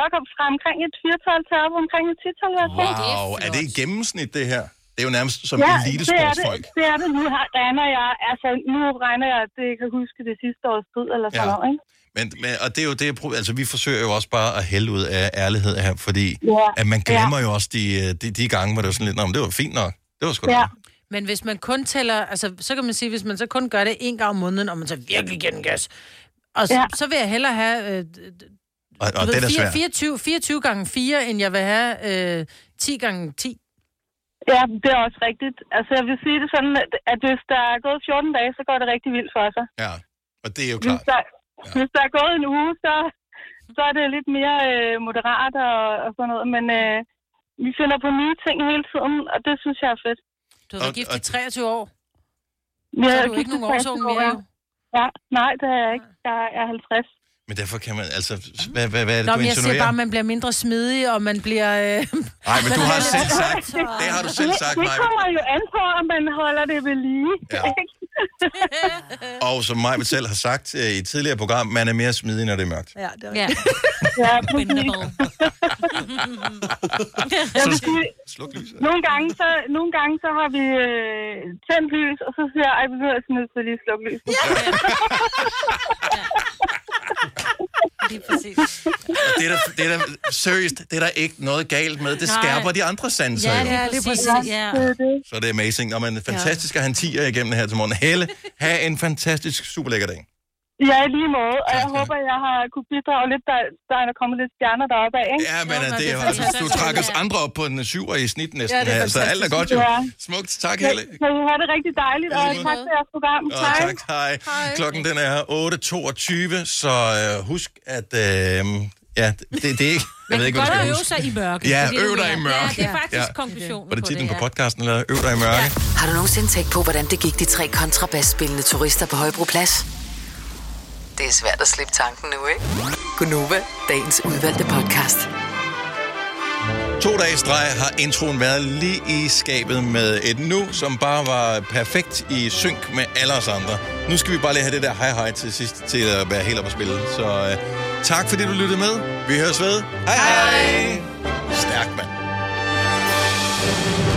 [SPEAKER 20] nok op fra omkring et 4-tal til op omkring et 10-tal.
[SPEAKER 1] Wow, er det i gennemsnit, det her? Det er jo nærmest som ja, elitesportsfolk.
[SPEAKER 20] Det er det, det er det nu, har- regner jeg. Altså, nu regner jeg, at det jeg kan huske det sidste års tid eller sådan
[SPEAKER 1] Ja.
[SPEAKER 20] ja. noget, ikke?
[SPEAKER 1] Men, men, og det er jo det, jeg prøver- altså vi forsøger jo også bare at hælde ud af ærlighed her, fordi
[SPEAKER 20] Ja,
[SPEAKER 1] at man glemmer
[SPEAKER 20] ja.
[SPEAKER 1] jo også de, øh, de, de gange, hvor det var sådan lidt, "Nå, men det var fint nok. Det var sgu da
[SPEAKER 2] Ja. Men hvis man kun tæller, altså så kan man sige, hvis man så kun gør det en gang om måneden, og man så virkelig giver den gas, og så, ja.
[SPEAKER 1] Ja.
[SPEAKER 2] så vil jeg hellere have øh,
[SPEAKER 1] Og,
[SPEAKER 2] du
[SPEAKER 1] og
[SPEAKER 2] ved,
[SPEAKER 1] det er
[SPEAKER 2] fire-
[SPEAKER 1] svært.
[SPEAKER 2] 24, 24 gange 4, end jeg vil have øh, 10 gange 10.
[SPEAKER 20] Ja, det er også rigtigt. Altså, jeg vil sige det sådan, at- at hvis der er gået 14 dage, så går det rigtig vildt for sig.
[SPEAKER 1] Ja, og det er jo
[SPEAKER 20] Hvis
[SPEAKER 1] klart.
[SPEAKER 20] der, ja. hvis der er gået en uge, så, så er det lidt mere øh, moderat og, og sådan noget. Men øh, vi finder på nye ting hele tiden, og det synes jeg er fedt.
[SPEAKER 2] Du har været gift i 23 år.
[SPEAKER 20] Ja,
[SPEAKER 2] så
[SPEAKER 20] jeg
[SPEAKER 2] er
[SPEAKER 20] er
[SPEAKER 2] du
[SPEAKER 20] gift
[SPEAKER 2] ikke
[SPEAKER 20] i
[SPEAKER 2] nogen
[SPEAKER 20] 23
[SPEAKER 2] årsung
[SPEAKER 20] år,
[SPEAKER 2] mere,
[SPEAKER 20] ja.
[SPEAKER 2] jo.
[SPEAKER 20] Ja, nej, det er jeg ikke. Jeg er 50.
[SPEAKER 1] Men derfor kan man, altså, hvad, hvad, hvad er det,
[SPEAKER 2] Nå,
[SPEAKER 1] du
[SPEAKER 2] men jeg siger
[SPEAKER 1] insinuerer?
[SPEAKER 2] bare, at man bliver mindre smidig, og man bliver... Øh,
[SPEAKER 1] Nej, men du har selv sagt,
[SPEAKER 2] Så-
[SPEAKER 1] det har du selv sagt,
[SPEAKER 20] Det
[SPEAKER 1] Maja.
[SPEAKER 20] kommer jo an på, om man holder det ved lige.
[SPEAKER 1] Ja.
[SPEAKER 20] ikke?
[SPEAKER 1] Og som Maja selv har sagt øh, i et tidligere program, man er mere smidig, når det er mørkt.
[SPEAKER 20] Ja, det er rigtigt. Ja, præcis. Jeg vil sige,
[SPEAKER 1] Sluk lyset.
[SPEAKER 20] nogle gange, så, nogle gange så har vi øh, tændt lys, og så siger jeg, ej, vi bliver altså nødt til lige at slukke lyset. Ja.
[SPEAKER 4] Lige præcis.
[SPEAKER 1] Og det er der, det er der, seriøst, det er der ikke noget galt med. Det
[SPEAKER 4] Nej.
[SPEAKER 1] skærper de andre sanser
[SPEAKER 4] Ja,
[SPEAKER 1] jo.
[SPEAKER 4] lige
[SPEAKER 2] det er
[SPEAKER 4] præcis.
[SPEAKER 2] præcis.
[SPEAKER 4] Ja.
[SPEAKER 1] Så det er amazing. Nå, men fantastisk at han tiger igennem her til morgen. Helle, have en fantastisk, super lækker dag.
[SPEAKER 20] ja, i lige måde, og jeg håber, jeg har kunne bidrage lidt, der, der er kommet lidt stjerner deroppe af, ikke?
[SPEAKER 1] Ja, men øh, det er jo altså, du trak os andre op på en syver i snit næsten
[SPEAKER 20] Ja, det er
[SPEAKER 1] her, så alt er
[SPEAKER 20] fantastisk.
[SPEAKER 1] godt jo.
[SPEAKER 20] Ja.
[SPEAKER 1] Smukt. Tak, Helle.
[SPEAKER 20] Så I har det rigtig dejligt, og tak for jeres program.
[SPEAKER 1] Og tak, hej. Klokken den er 8.22, så øh, husk at... Øh, ja, det, det er ikke... Jeg ved ikke,
[SPEAKER 4] Godt
[SPEAKER 1] hvad
[SPEAKER 4] at
[SPEAKER 1] du
[SPEAKER 4] øve
[SPEAKER 1] skal
[SPEAKER 4] sig i
[SPEAKER 1] huske.
[SPEAKER 4] mørke.
[SPEAKER 1] Ja,
[SPEAKER 4] Det er det,
[SPEAKER 1] øv
[SPEAKER 4] du
[SPEAKER 1] dig i
[SPEAKER 4] mener.
[SPEAKER 1] mørke.
[SPEAKER 4] Ja, det er faktisk
[SPEAKER 1] Ja.
[SPEAKER 4] konklusionen
[SPEAKER 1] Var det
[SPEAKER 4] på
[SPEAKER 1] titlen
[SPEAKER 4] det,
[SPEAKER 1] på
[SPEAKER 4] ja.
[SPEAKER 1] podcasten, eller øv dig i mørke?
[SPEAKER 18] Har du nogensinde tænkt på, hvordan det gik de tre kontrabasspillende turister på Højbroplads? Det er svært at slippe tanken nu, ikke? Gunova, dagens udvalgte podcast.
[SPEAKER 1] To dage i streg har introen været lige i skabet med et nu, som bare var perfekt i synk med alle os andre. Nu skal vi bare lige have det der hej-hej til sidst til at være helt op at spille. Så øh, tak fordi du lyttede med. Vi høres ved. Hej hej! hej. Stærk, mand.